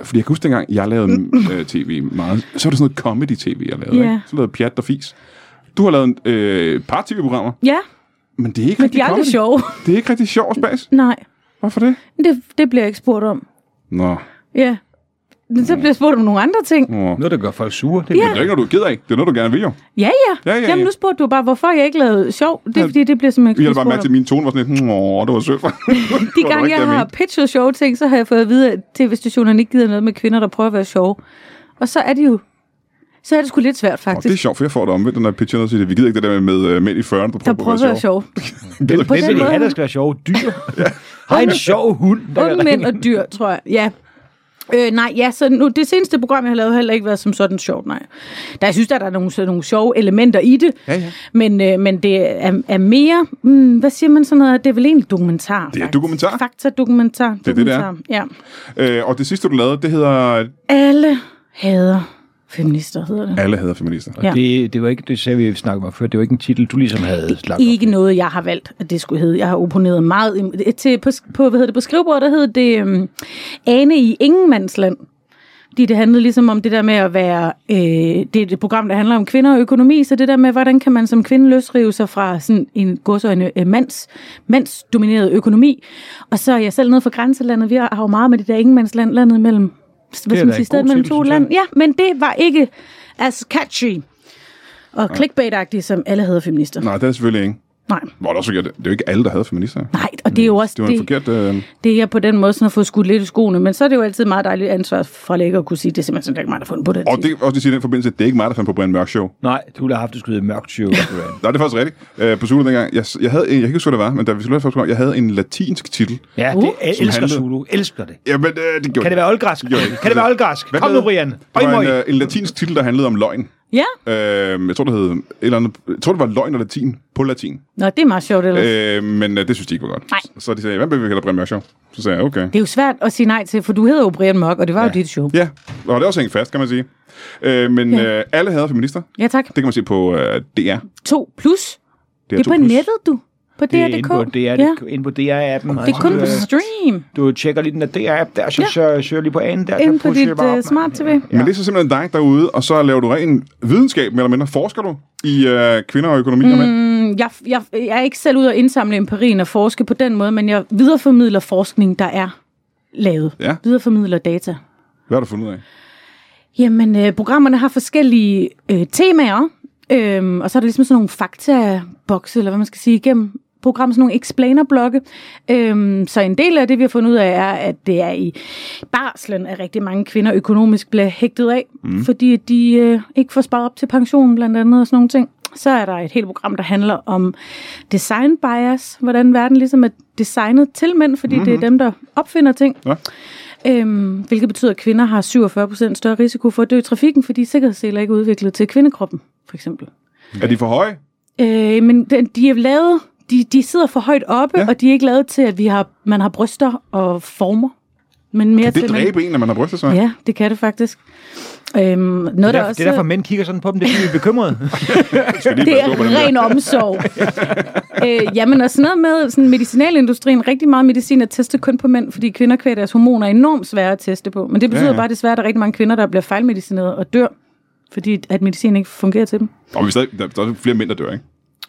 Fordi jeg kan huske dengang, jeg lavede øh, tv meget. Så var det sådan noget comedy-tv, jeg lavede. Ja. Ikke? Så lavede jeg pjat og fis. Du har lavet øh, et par tv-programmer, Ja, men det er ikke men rigtig de er aldrig comedy. sjove. Det er ikke rigtig sjov og spas. Nej, Hvorfor det? det, det bliver jeg ikke spurgt om. Nå. Ja. Men så bliver jeg spurgt om nogle andre ting. Nå. Noget, der gør folk sure, det Ja. er Det er ikke noget, du er ked af. Det er noget, du gerne vil jo. Ja, ja. Ja, ja, ja. Jamen, nu spurgte du bare, hvorfor jeg ikke lavede sjov. Det er, fordi det bliver simpelthen Jeg ikke har bare mærke til, at spurgt om. min tone var sådan lidt, åh, det var sødt. De var gange, ikke jeg det, jeg har mente. pitchet sjove ting, så har jeg fået at vide, at tv-stationerne ikke gider noget med kvinder, der prøver at være sjove. Og så er de jo... Så er det sgu lidt svært, Og det er faktisk. sjovt, for jeg får det omvendt, når jeg pitcher noget og siger, vi gider ikke det der med, med øh, mænd i 40'erne, der Der prøver, prøver at være sjove. sjov. den, på den den, måde. den, der skal være sjove dyr. Har en sjov hund, der Unge mænd og dyr, tror jeg. Ja. Øh, nej, ja, så nu, det seneste program, jeg har lavet, har heller ikke været som sådan sjovt, nej. Der, jeg synes, der er der nogle, sådan nogle sjove elementer i det, ja, ja. men, øh, men det er, er mere, mm, hvad siger man sådan noget, det er vel egentlig dokumentar. Det er faktisk. dokumentar. Fakta-dokumentar. er det, det er. Dokumentar, Ja. Øh, og det sidste, du lavede, det hedder... Alle hader feminister, hedder det. Alle hader feminister. Ja. Det, det var ikke, det sagde vi, vi snakkede om før, det var ikke en titel, du ligesom havde lagt op. Ikke noget, jeg har valgt, at det skulle hedde. Jeg har oponeret meget. im- Til, på, på, hvad hedder det, på skrivebordet, der hed det um, Ane i Ingenmandsland. Fordi det handlede ligesom om det der med at være... Øh, det er et program, der handler om kvinder og økonomi, så det der med, hvordan kan man som kvinde løsrive sig fra sådan en godsøjne øh, mands, mandsdomineret økonomi. Og så er jeg selv nede fra grænselandet. Vi har jo meget med det der ingenmandsland, landet mellem... Hvad da skal man en sige, god stedet mellem titel, to synes jeg. lande. Ja, men det var ikke as catchy og clickbait-agtigt, som alle havde feminister. Nej, det er selvfølgelig ikke. Nej. Hvor det, også, forkert. det er jo ikke alle, der havde feminister. Nej, og det er jo også Det var en det, forkert... Øh, det, er jeg på den måde sådan har fået skudt lidt i skoene, men så er det jo altid meget dejligt ansvar fra lægger at kunne sige, det er simpelthen sådan, det er ikke mig, der har fundet på det. og det kan også sige i den forbindelse, at det er ikke mig, der fandt på Brian Mørk Show. Nej, du ville have haft det skulle hedde mørkt show. Brian. Nej, det er faktisk rigtigt. Øh, på Zulu dengang, jeg, jeg havde en, jeg kan ikke huske, hvad det var, men da vi sluttede første gang, jeg havde en latinsk titel. ja, Uh. det jeg Som elsker handlede- Zulu. Elsker det. Jamen, øh, det gjorde Kan det være oldgræsk? det- Kan det være oldgræsk? Hvad Kom nu, hed- Brian. Det Bring var mig en, i. øh, en latinsk titel, der handlede om løgn. Ja, Øh, jeg tror, det hed et eller andet, jeg tror, det var løgn og latin på latin. nå, det er meget sjovt ellers. Øh. Øh, men øh, det synes de ikke var godt. Nej. Så de sagde, hvad vil vi kalde Brian Mørk Show? Så sagde jeg, okay. Det er jo svært at sige nej til, for du hedder jo Brian Mørk, og det var ja. jo dit show. Ja, og det er også hængt fast, kan man sige. Øh, men ja. øh, alle hader feminister. Ja, tak. Det kan man se på øh, DR. 2 plus. DR2+. Det er på nettet, du. På Det er inde DR.dk. på DR, ja. inde på DR-appen. Det er kun Altså, på øh, stream, Du tjekker lige den der DR-app der, så Ja. søger søger lige på A'en der. så inde på pusher jeg dit bare op, uh, mand. smart-tv. Ja. Men det er så simpelthen dig derude, og så laver du ren videnskab, mere eller mindre. Forsker du i øh, kvinder og økonomi mm. og mænd? Mm, Jeg, jeg, jeg er ikke selv ude at indsamle empirien og forske på den måde, men jeg videreformidler forskning, der er lavet. Ja. Videreformidler data. Hvad har du fundet ud af? Jamen, øh, programmerne har forskellige øh, temaer, øhm, og så er der ligesom sådan nogle faktabokse, eller hvad man skal sige, igennem programmet, sådan nogle explainer-blokke. Øhm, så en del af det, vi har fundet ud af, er, at det er i barslen, at rigtig mange kvinder økonomisk bliver hægtet af, mm. fordi de øh, ikke får sparet op til pension, blandt andet, og sådan nogle ting. Så er der et helt program, der handler om design bias, hvordan verden ligesom er designet til mænd, fordi mm-hmm. det er dem, der opfinder ting. Ja. Øhm, hvilket betyder, at kvinder har 47% større risiko for at dø i trafikken, fordi sikkerhedsseler ikke er udviklet til kvindekroppen, for eksempel. Er de for høje? Øh, men den- de er lavet, de, de sidder for højt oppe, Ja. ja. og de er ikke lavet til, at vi har, man har bryster og former. Men mere Kan det til, man- dræbe en, når man har brystet sig? Ja, det kan det faktisk. Øhm, noget, Det der er, der, også, øh. det er derfor, mænd kigger sådan på dem, det er fordi, de er bekymrede. det er ren omsorg. øh, jamen, og sådan noget med sådan medicinalindustrien. Rigtig meget medicin er testet kun på mænd, fordi kvinder kvæg deres hormoner er enormt svære at teste på. Men det betyder Ja, ja, ja. ja. bare desværre, at der er rigtig mange kvinder, der bliver fejlmedicineret og dør, fordi at medicin ikke fungerer til dem. Og vi er stadig, der, der er flere mænd, der dør, ikke?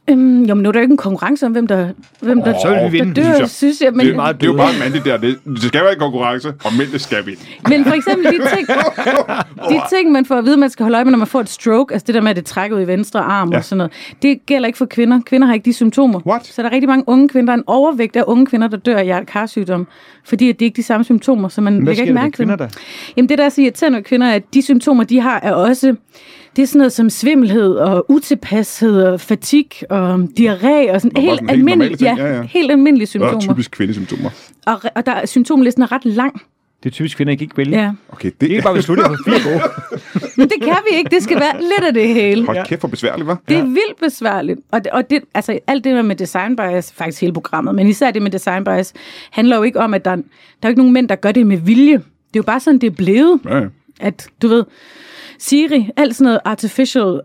Øhm, jo, men nu er der jo ikke en konkurrence om, hvem der, hvem der, så vil vi der vinde, dør, synes jeg. synes jeg. Men, Det, det, meget det er jo bedre. bare mandligt der. Det, det skal være en konkurrence, og mændene skal vinde. men for eksempel de ting, de ting, man får at vide, man skal holde øje med, når man får et stroke, altså det der med, at det trækker ud i venstre arm Ja. ja. og sådan noget, det gælder ikke for kvinder. Kvinder har ikke de symptomer. What? Så der er rigtig mange unge kvinder, der er en overvægt af unge kvinder, der dør af hjerte-karsygdom, fordi at det ikke er de samme symptomer, så man Hvad lægger sker ikke der ved mærke til kvinder dem. der? Jamen det, der er så irriterende ved kvinder, er, at de symptomer, de har, er også... Det er sådan noget som svimmelhed og utilpashed og fatig og um, diarré Nå, bare og sådan sådan helt normale almindelige, ting. Ja, ja. helt almindelige Det er symptomer. typisk kvindesymptomer. Og, re- og der, er- symptomlisten er ret lang. Det er typisk kvinder, ikke ikke vælge. Ja. Okay, Det er det ikke bare, vi slutter på fire gode. Men det kan vi ikke. Det skal være lidt af det hele. Hold kæft, hvor besværligt, hva'? Det er vildt besværligt. Og, det, og det, altså, alt det der med design bias, faktisk hele programmet, men især det med design bias, handler jo ikke om, at der, der er jo ikke nogen mænd, der gør det med vilje. Det er jo bare sådan, det er blevet. Ja, ja. At, du ved, Siri, alt sådan noget artificial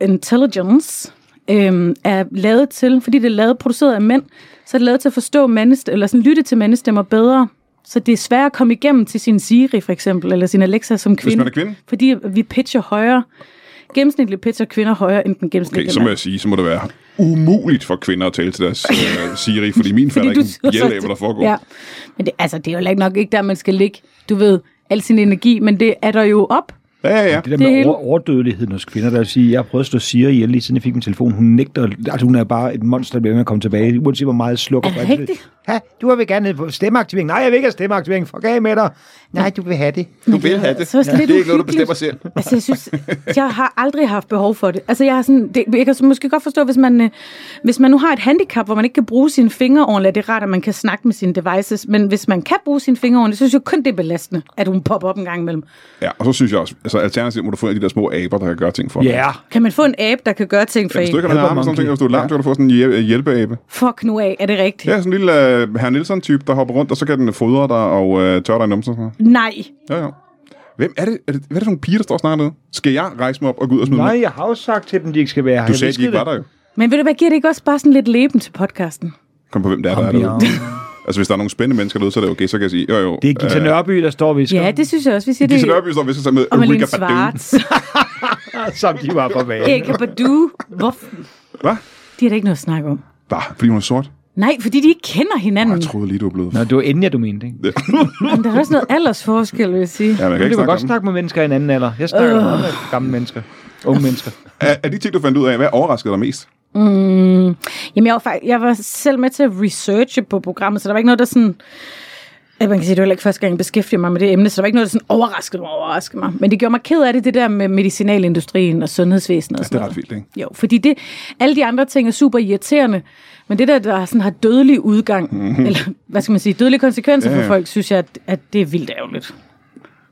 intelligence, øhm, er lavet til, fordi det er lavet, produceret af mænd, så er det lavet til at forstå mandestemmer, eller sådan lytte til mandestemmer bedre. Så det er sværere at komme igennem til sin Siri, for eksempel, eller sin Alexa som kvinde. Hvis man er kvinde? Fordi vi pitcher højere. Gennemsnitligt pitcher kvinder højere end den Okay, gennemsnitlige så må mand. jeg sige, så må det være umuligt for kvinder at tale til deres øh, Siri, fordi min fatter ikke en sidder bjæl af, så- hvad der foregår. Ja. Men det, altså, det er jo heller ikke nok ikke der, man skal ligge, du ved, al sin energi, men det er der jo op. ja, ja. ja. Det der Det med hele- over, overdødeligheden hos kvinder, der vil sige, jeg har prøvet at slå Siri ihjel, lige siden jeg fik min telefon. Hun nægter, altså hun er bare et monster, der bliver ved med at komme tilbage, uanset hvor meget jeg slukker. Er det for alt. rigtigt? Ha, du vil gerne have stemmeaktivering. Nej, jeg vil ikke have stemmeaktivering. Fuck af med dig. Nej, du vil have det. Du vil have det. Så er det lidt det er ikke noget, du uhyggeligt. bestemmer selv. Altså, jeg synes, jeg har aldrig haft behov for det. Altså, jeg, har sådan, det, jeg kan så måske godt forstå, hvis man, øh, hvis man nu har et handicap, hvor man ikke kan bruge sine fingre ordentligt, det er rart, at man kan snakke med sine devices, men hvis man kan bruge sine fingre ordentligt, så synes jeg kun, det er belastende, at hun popper op en gang imellem. Ja, og så synes jeg også, altså alternativt må du få en af de der små aber, der kan gøre ting for dig. Ja, Kan man få en app, der kan gøre ting for Hvis du en? ikke har noget Helper arme og sådan monkey. ting, hvis du er lam, så kan du få sådan en hjæl- hjælpeabe. Fuck nu af, er det rigtigt? Ja, sådan en lille uh, herr Nielsen-type, der hopper rundt, og så kan den fodre dig og uh, tørre dig i numsen. Nej. Ja, ja. Hvem er det? Er det hvad er det for nogle piger, der står og snakker nede? Skal jeg rejse mig op og gå ud og smide dem? nej, jeg har jo sagt til dem, de ikke skal være her. Du Jeg sagde, at de viskede ikke var det. der jo. Men ved du hvad, giver det ikke også bare sådan lidt leben til podcasten? Kom på, hvem det er, der er Kom, derude. Altså, hvis der er nogle spændende mennesker derude, så er det okay, så kan jeg sige, jo jo. Det er Gita Nørby, der står ved Ja, det synes jeg også. Vi siger Gita det Nørby står vist sammen med om Erika Aline Badu. Svarts, som de var på banen. Erika Badu. Hvorfor? Hvad? De er der ikke noget at snakke om. Bare, fordi hun er sort? Nej, fordi de ikke kender hinanden. Jeg Mm. troede lige, du var blevet... Nå, det var inden, jeg du mente, ikke? Ja, Men der er også noget aldersforskel, vil jeg sige. Ja, man kan Men ikke du kan snakke godt om. Øh. snakke med mennesker i en anden alder. Jeg snakker meget med gamle mennesker. Unge mennesker. Er, er de ting, du fandt ud af, hvad overraskede dig mest? Jamen, jeg var, faktisk, jeg var selv med til at researche på programmet, så der var ikke noget, der sådan... Ja, man kan sige, det var heller ikke første gang, jeg beskæftigede mig med det emne, så der var ikke noget, der sådan overraskede mig, overraskede mig. Men det gjorde mig ked af det, det der med medicinalindustrien og sundhedsvæsenet og Det sådan er noget. ret vildt, ikke? Jo, fordi det, alle de andre ting er super irriterende, men det der, der sådan har dødelig udgang, mm-hmm. eller hvad skal man sige, dødelige konsekvenser Mhm. Ja, yeah. ja. for folk, synes jeg, at, at det er vildt ærgerligt.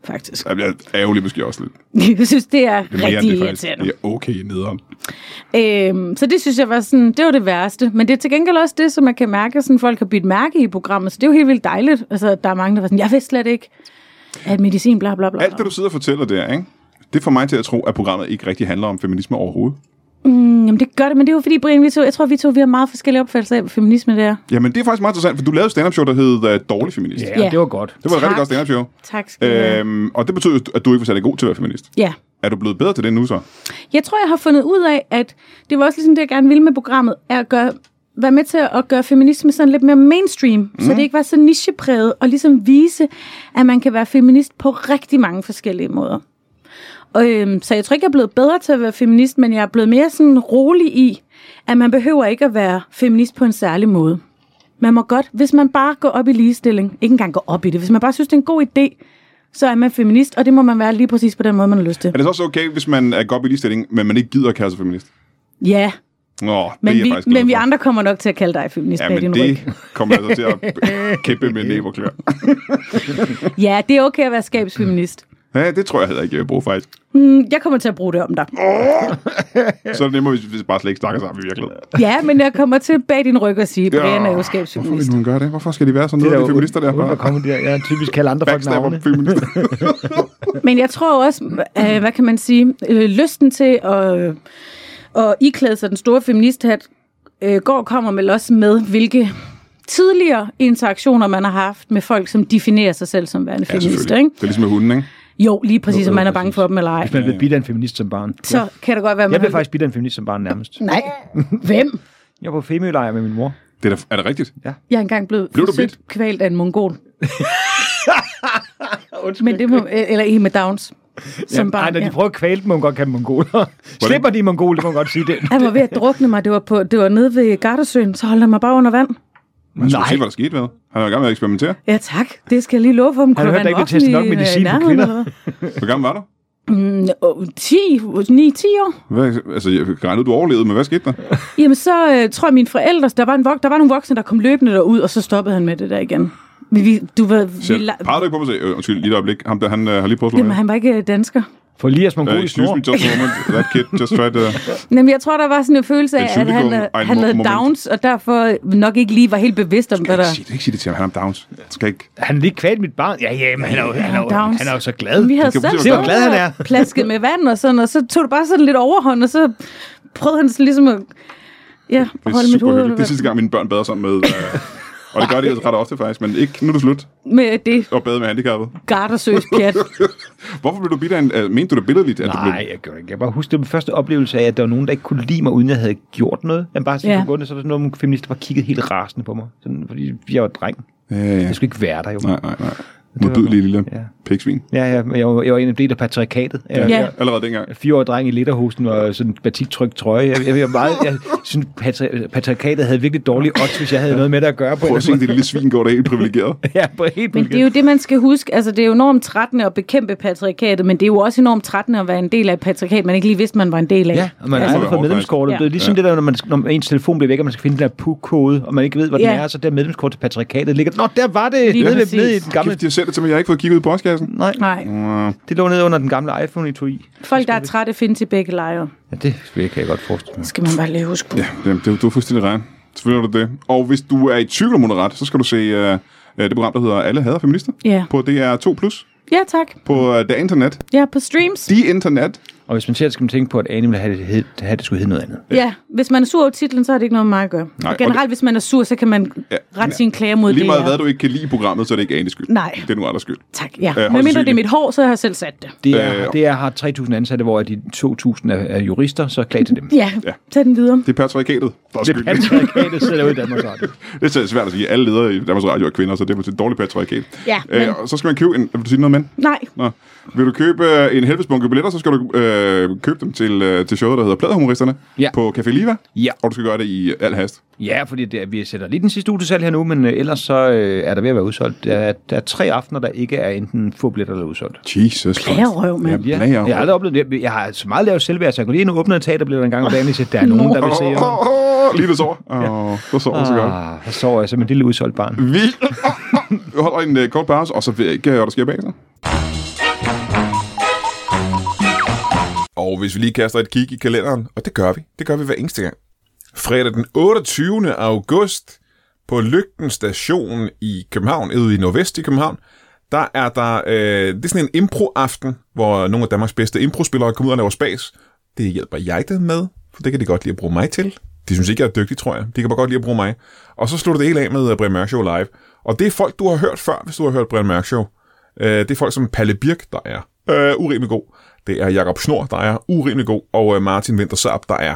Faktisk. Jamen, Jeg er ærgerlig måske også lidt. Jeg synes, det er Det er mere end rigtig det, faktisk. irriterende. Det er okay nederen. Øhm, så det synes jeg var sådan, det var det værste. Men det er til gengæld også det, som man kan mærke, sådan folk har bidt mærke i programmet. Så det er jo helt vildt dejligt. Altså, der er mange, der var sådan, jeg vidste slet ikke, at medicin, bla bla bla. Alt det, du sidder og fortæller der, ikke? Det får mig til at tro, at programmet ikke rigtig handler om feminisme overhovedet. Jamen, det gør det, men det er jo fordi, Brian, vi to, jeg tror, vi to vi har meget forskellige opfattelser af, hvad feminisme det er. Jamen, det er faktisk meget interessant, for du lavede et stand-up show, der hed uh, Dårlig Feminist. Ja, Yeah. yeah. det var godt. Det var et Tak. rigtig godt stand-up show. Tak skal du have. Øhm, og det betød, jo, at du ikke var særlig god til at være feminist. Ja. Er du blevet bedre til det nu så? Jeg tror, jeg har fundet ud af, at det var også ligesom det, jeg gerne ville med programmet, er at gøre være med til at gøre feminisme sådan lidt mere mainstream, mm. så det ikke var så nichepræget, og ligesom vise, at man kan være feminist på rigtig mange forskellige måder. Og, øhm, så jeg tror ikke, jeg er blevet bedre til at være feminist, men jeg er blevet mere sådan rolig i, at man behøver ikke at være feminist på en særlig måde. Man må godt, hvis man bare går op i ligestilling, ikke engang går op i det, hvis man bare synes, det er en god idé, så er man feminist, og det må man være lige præcis på den måde, man har lyst til. Er det så også okay, hvis man er godt i ligestilling, men man ikke gider at kalde sig feminist? Ja, Nå, det er men, jeg vi, faktisk glad men vi for. andre kommer nok til at kalde dig feminist Ja, bag din men ryg. det kommer altså til at kæmpe med næberklør. Ja, det er okay at være skabsfeminist. Ja, det tror jeg heller ikke, jeg vil bruge faktisk. Mm, Jeg kommer til at bruge det om dig. Så er det nemmere, hvis vi bare slet ikke snakker sammen i virkeligheden. Ja, men jeg kommer til bag din ryg og sige, Brian er jo Hvorfor vil skabsfeminist. nogen gøre det? Hvorfor skal de være sådan noget? Det er feminister der Uden bare. at komme der. Jeg typisk kalder andre folk Backstabber navne. feminister. Men jeg tror også, øh, hvad kan man sige, øh, lysten til at, øh, at iklæde sig den store feministhat, øh, går og kommer vel også med, hvilke tidligere interaktioner, man har haft med folk, som definerer sig selv som værende Ja, feminister. selvfølgelig. Ikke? Det er ligesom med hunden, ikke? Jo, lige præcis, Jo, om jo, man er præcis. bange for dem eller ej. Hvis man blev bidt af en feminist som barn. Så kan det godt være, at Jeg man blev har- faktisk bidt af en feminist som barn nærmest. Nej, hvem? Jeg var på femølejr med min mor. Det er, da, er det rigtigt? Jeg er engang blevet Blev du forsøgt kvalt af en mongol. Undskyld. Men det må, e- eller en med Downs. Som ja, Ej, barn, når de ja. prøver at kvæle dem, må man godt kalde dem mongoler. Slipper de mongoler, må man godt sige det. Han var ved at drukne mig. Det var, på, det var nede ved Gardasøen, så holdt han mig bare under vand. Man skulle Nej. se, hvad der skete, hvad? Han er i gang med at eksperimentere. Ja tak, det skal jeg lige love for. Om Har du hørt, der ikke bliver testet nok medicin øh, på kvinder? Hvor gammel var du? Oh, 10, 9, 10 år. Hvad, altså, jeg regnede, du overlevede, men hvad skete der? Jamen så øh, tror jeg, mine forældre, der var, en vok- der var nogle voksne, der kom løbende derud, og så stoppede han med det der igen. Vi, vi, du var, vi, Selv. la- Pegede du ikke på mig og sagde, øh, undskyld, lige et øjeblik. Ham der, han øh, har lige prøvet at slå Jamen, mig. han var ikke øh, dansker. For lige at ihjel. Øh, mongolisk excuse mor. me, just a moment. That kid just tried to... Jamen, jeg tror, der var sådan en følelse af, Den at han, syltekrumme øh, er en han mo- havde moment. downs, og derfor nok ikke lige var helt bevidst om, hvad Ikke der... sig det, ikke sig det til ham. Han er Downs. Han skal ikke... Han er lige kvalt mit barn. Ja, ja, men han er jo, han er jo, Downs. han er jo så glad. Vi havde kan selv betyde, hvor stået glad han er. og plasket med vand og sådan, og så tog det bare sådan lidt overhånd, og så prøvede han sådan ligesom at ja, Det holde er mit super hyggeligt. hoved Det er under sidste gang, mine børn bader sammen med... Øh, og det gør de altså ret ofte faktisk, men ikke, nu er det slut vand. med det og bade med handicappet. gardersøs pjat. Hvorfor blev du bidt af en... Øh, mente du det billedligt, at du blev... Nej, jeg gjorde det ikke. Jeg bare husker den første oplevelse af, at der var nogen, der ikke kunne lide mig, uden jeg havde gjort noget. Men bare sådan Ja. ja. gående, så var der sådan nogle feminister, der bare kiggede helt rasende på mig. Sådan, fordi jeg var dreng. Ja, ja. Jeg skulle ikke være der, jo. Nej, nej, nej. Modbydelig lille Ja. pigsvin. Ja, ja, men jeg var, jeg var en af det der patriarkatet. Jeg, Ja. jeg, Allerede dengang. fire år dreng i lederhosen og sådan en batiktryk trøje. Jeg, jeg, jeg, var meget, jeg synes, patri- patriarkatet havde virkelig dårlige odds, hvis jeg havde noget med det at gøre på. Prøv en at se, eller det lille svin går da helt privilegeret. anden måde. Ja, på helt Men det er jo det, man skal huske. Altså, det er jo enormt trættende at bekæmpe patriarkatet, men det er jo også enormt trættende at være en del af et patriarkat, man ikke lige vidste, man var en del af. Ja, og man har altså, aldrig fået medlemskortet. Ja. Det er ligesom det der, når, man, når ens telefon bliver væk, og man skal finde den der PUK-kode, og man ikke ved, hvor Ja. den er, så der medlemskort til patriarkatet ligger. Nå, der var det! Lige Nede, ved, præcis. nede i den gamle... Kæft, jeg ser det til mig. Jeg har ikke fået kigget ud i postkassen. Nej, nej, det lå nede under den gamle iPhone, I tog i. folk, der er trætte, findes i begge lejre. Ja, det kan jeg godt forestille mig. Det skal man bare lige huske på. Ja, jamen, det, du er fuldstændig ret. Selvfølgelig er du det. Og hvis du er i tvivl om hun er ret, så skal du se øh, øh, det program, der hedder Alle hader feminister. Ja. På DR2+, Plus, Ja, tak. på øh, det internet. Ja, på streams. De internet. Og hvis man ser det, skal man tænke på, at Animal havde det, hed, havde det skulle hedde noget andet. Ja, hvis man er sur over titlen, så har det ikke noget med mig at gøre. Nej, og generelt, og hvis man er sur, så kan man Ja, rette sine klager mod Lige det meget her. hvad du ikke kan lide i programmet, så er det ikke Anes skyld. Nej. Det er nu andres skyld. Tak, ja. højst Øh, Men mindre det er sandsynligt. mit hår, så har jeg selv sat det. Det er, Øh. det er, har 3.000 ansatte, hvor de 2.000 er, er jurister, så klag til dem. Ja, Ja. tag den videre. Det er patriarkatet, der er Det er skyld. patriarkatet, sidder derude i Danmarks Radio. Det er så svært at sige. Alle ledere i Danmarks Radio er kvinder, så det er et dårligt patriarkat. Ja, men- øh, og så skal man købe en... Vil du sige noget, mand? Nej, Nå. Vil du købe øh, en helvedes bunke billetter, så skal du øh, købe dem til, øh, til showet, der hedder Pladerhumoristerne Ja. på Café Liva. Ja. Og du skal gøre det i al hast. Ja, fordi det, er- vi sætter lige den sidste uge til salg her nu, men øh, ellers så øh, er der ved at være udsolgt. Der, er- der er tre aftener, der ikke er enten få billetter eller udsolgt. Jesus plagerøv, mand. Ja, plager. Jeg har aldrig oplevet det. Jeg har så meget lavet selvværd, så jeg kunne lige ind og åbne en teaterbilletter en gang om dagen, hvis der er nogen, der vil se. Åh, åh, åh, lige du sover. Åh, så sover du så godt. Ah, så sover jeg som et lille udsolgt barn. Vi Vi holder en øh, kort pause, og så ved jeg ikke, øh, hvad der sker bag sig. Og hvis vi lige kaster et kig i kalenderen, og det gør vi, det gør vi hver eneste gang. Fredag den 28. august på Lygten station i København, ude i nordvest i København, der er der, øh, det er sådan en impro-aften, hvor nogle af Danmarks bedste impro-spillere kommer ud og laver spas. Det hjælper jeg dem med, for det kan de godt lide at bruge mig til. De synes ikke, jeg er dygtig, tror jeg. De kan bare godt lide at bruge mig. Og så slutter det hele af med øh, Brian Mørk Show live. Og det er folk, du har hørt før, hvis du har hørt Brian Mørk Show. Øh, det er folk som Palle Birk, der er øh, urimelig god. Det er Jakob Snor, der er urimelig god. Og øh, Martin Winter Saab, der er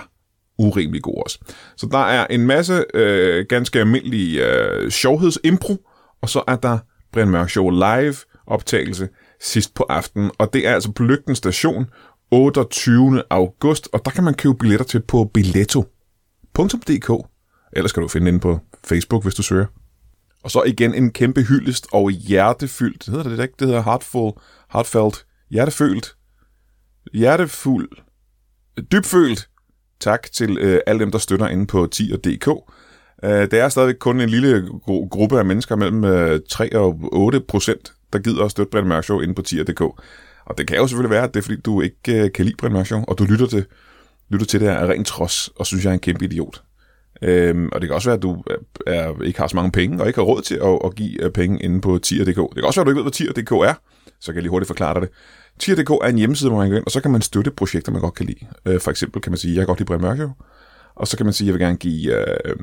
urimelig god også. Så der er en masse øh, ganske almindelige øh, sjovhedsimpro, og så er der Brian Mørk Show live optagelse sidst på aftenen, og det er altså på Lygten Station 28. august, og der kan man købe billetter til på billetto.dk. Ellers kan du finde den på Facebook, hvis du søger. Og så igen en kæmpe hyldest og hjertefyldt, hedder det, det ikke? Det hedder heartful, heartfelt, hjertefølt, hjertefuld, dybfølt. Tak til øh, alle dem, der støtter inde på 10.dk. Øh, det er stadigvæk kun en lille gru- gruppe af mennesker mellem øh, 3 og 8 procent, der gider at støtte Brian Mørk Show inde på 10.dk. Og det kan jo selvfølgelig være, at det er fordi, du ikke øh, kan lide Brian Mørk Show, og du lytter til, lytter til det her af ren trods, og synes, jeg er en kæmpe idiot. Øhm, og det kan også være, at du er, er, ikke har så mange penge, og ikke har råd til at, at give øh, penge inde på tier.dk. Det kan også være, at du ikke ved, hvad tier.dk er, så kan jeg lige hurtigt forklare dig det. Tier.dk er en hjemmeside, hvor man kan gå ind, og så kan man støtte projekter, man godt kan lide. Øh, for eksempel kan man sige, jeg kan godt lide Brian Mørk Show. og så kan man sige, jeg vil gerne give øh,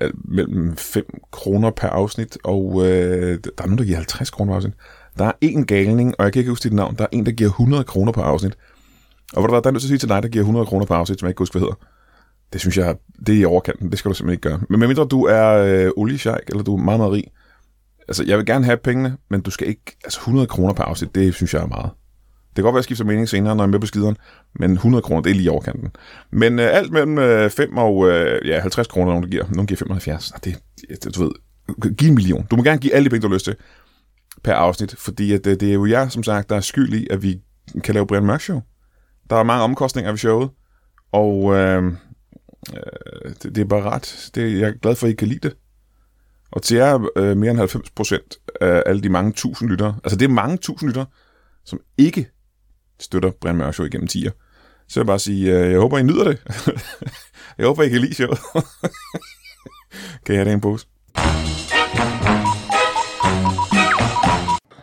øh, mellem 5 kroner per afsnit, og øh, der er nogen, der giver 50 kroner per afsnit. Der er en galning, og jeg kan ikke huske dit navn, der er en, der giver 100 kroner per afsnit. Og hvor der, der er nødt til at sige til dig, der giver 100 kroner per afsnit, som jeg ikke kan huske, hvad hedder. Det synes jeg, det er i overkanten. Det skal du simpelthen ikke gøre. Men medmindre du er øh, oliesjejk, eller du er meget, meget rig. Altså, jeg vil gerne have pengene, men du skal ikke... Altså, 100 kroner per afsnit, det synes jeg er meget. Det kan godt være, at jeg skifter mening senere, når jeg er med på skideren, men 100 kroner, det er lige i overkanten. Men øh, alt mellem øh, 5 og øh, ja, 50 kroner, nogen der giver. Nogen giver 75. Nå, det, det, du ved, giv en million. Du må gerne give alle de penge, du har lyst til per afsnit, fordi at, øh, det er jo jeg, som sagt, der er skyld i, at vi kan lave Brian Mørk Show. Der er mange omkostninger ved showet, og... Øh, det, det er bare ret. Det, jeg er glad for, at I kan lide det. Og til jer øh, mere end 90 procent af alle de mange tusind lyttere, altså det er mange tusind lyttere, som ikke støtter Brian Mørk Show igennem 10'er, så vil jeg bare sige, øh, jeg håber, I nyder det. jeg håber, I kan lide showet. kan jeg have det i en pose?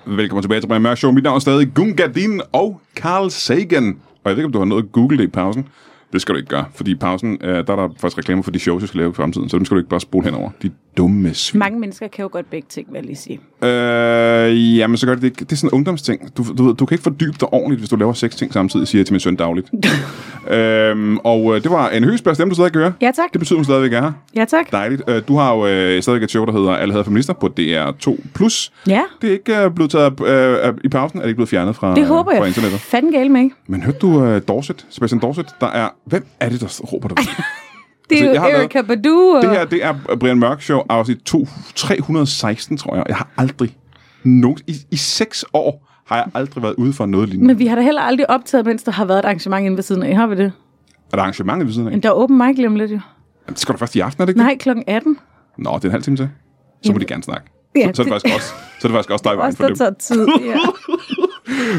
Velkommen tilbage til Brian Mørk Show. Mit navn er stadig Gungadin og Carl Sagan. Og jeg ved ikke, om du har noget at google det i pausen. Det skal du ikke gøre, fordi i pausen, øh, der er der faktisk reklamer for de shows, jeg skal lave i fremtiden, så dem skal du ikke bare spole henover. De dumme svin. Mange mennesker kan jo godt begge ting, vil jeg lige sige. Øh, jamen, så gør det ikke. Det er sådan en ungdomsting. Du, du, ved, du kan ikke fordybe dig ordentligt, hvis du laver seks ting samtidig, siger jeg til min søn dagligt. øhm, og øh, det var en højsplads, dem du stadig hører. Ja, tak. Det betyder, hun stadigvæk er her. Ja, tak. Dejligt. Øh, du har jo øh, stadigvæk et show, der hedder Alle havde feminister på DR2+. Ja, Det er ikke øh, blevet taget øh, i pausen, er det ikke blevet fjernet fra, øh, det håber fra jeg. internettet. Fanden gale med, ikke? Men hørte du øh, Dorset, Sebastian Dorset, der er... Hvem er det, der råber dig? Det er Altså, jeg har jo lavet- Erika Badu. Og... det her, det er Brian Mørk Show afsnit 2 316, tror jeg. Jeg har aldrig... Nogen, i, I seks år har jeg aldrig været ude for noget lignende. Men vi har da heller aldrig optaget, mens der har været et arrangement inde ved siden af. Har vi det? Er der arrangementet ved siden af? Men der er åben mic lige om lidt, jo. Jamen, det skal du først i aften, er det ikke Nej, klokken 18. det? Nå, det er en halv time til. Så må de gerne snakke. Ja, så, så, er det det- faktisk også, så er det faktisk også dig i vejen Også for der dem. tager tid.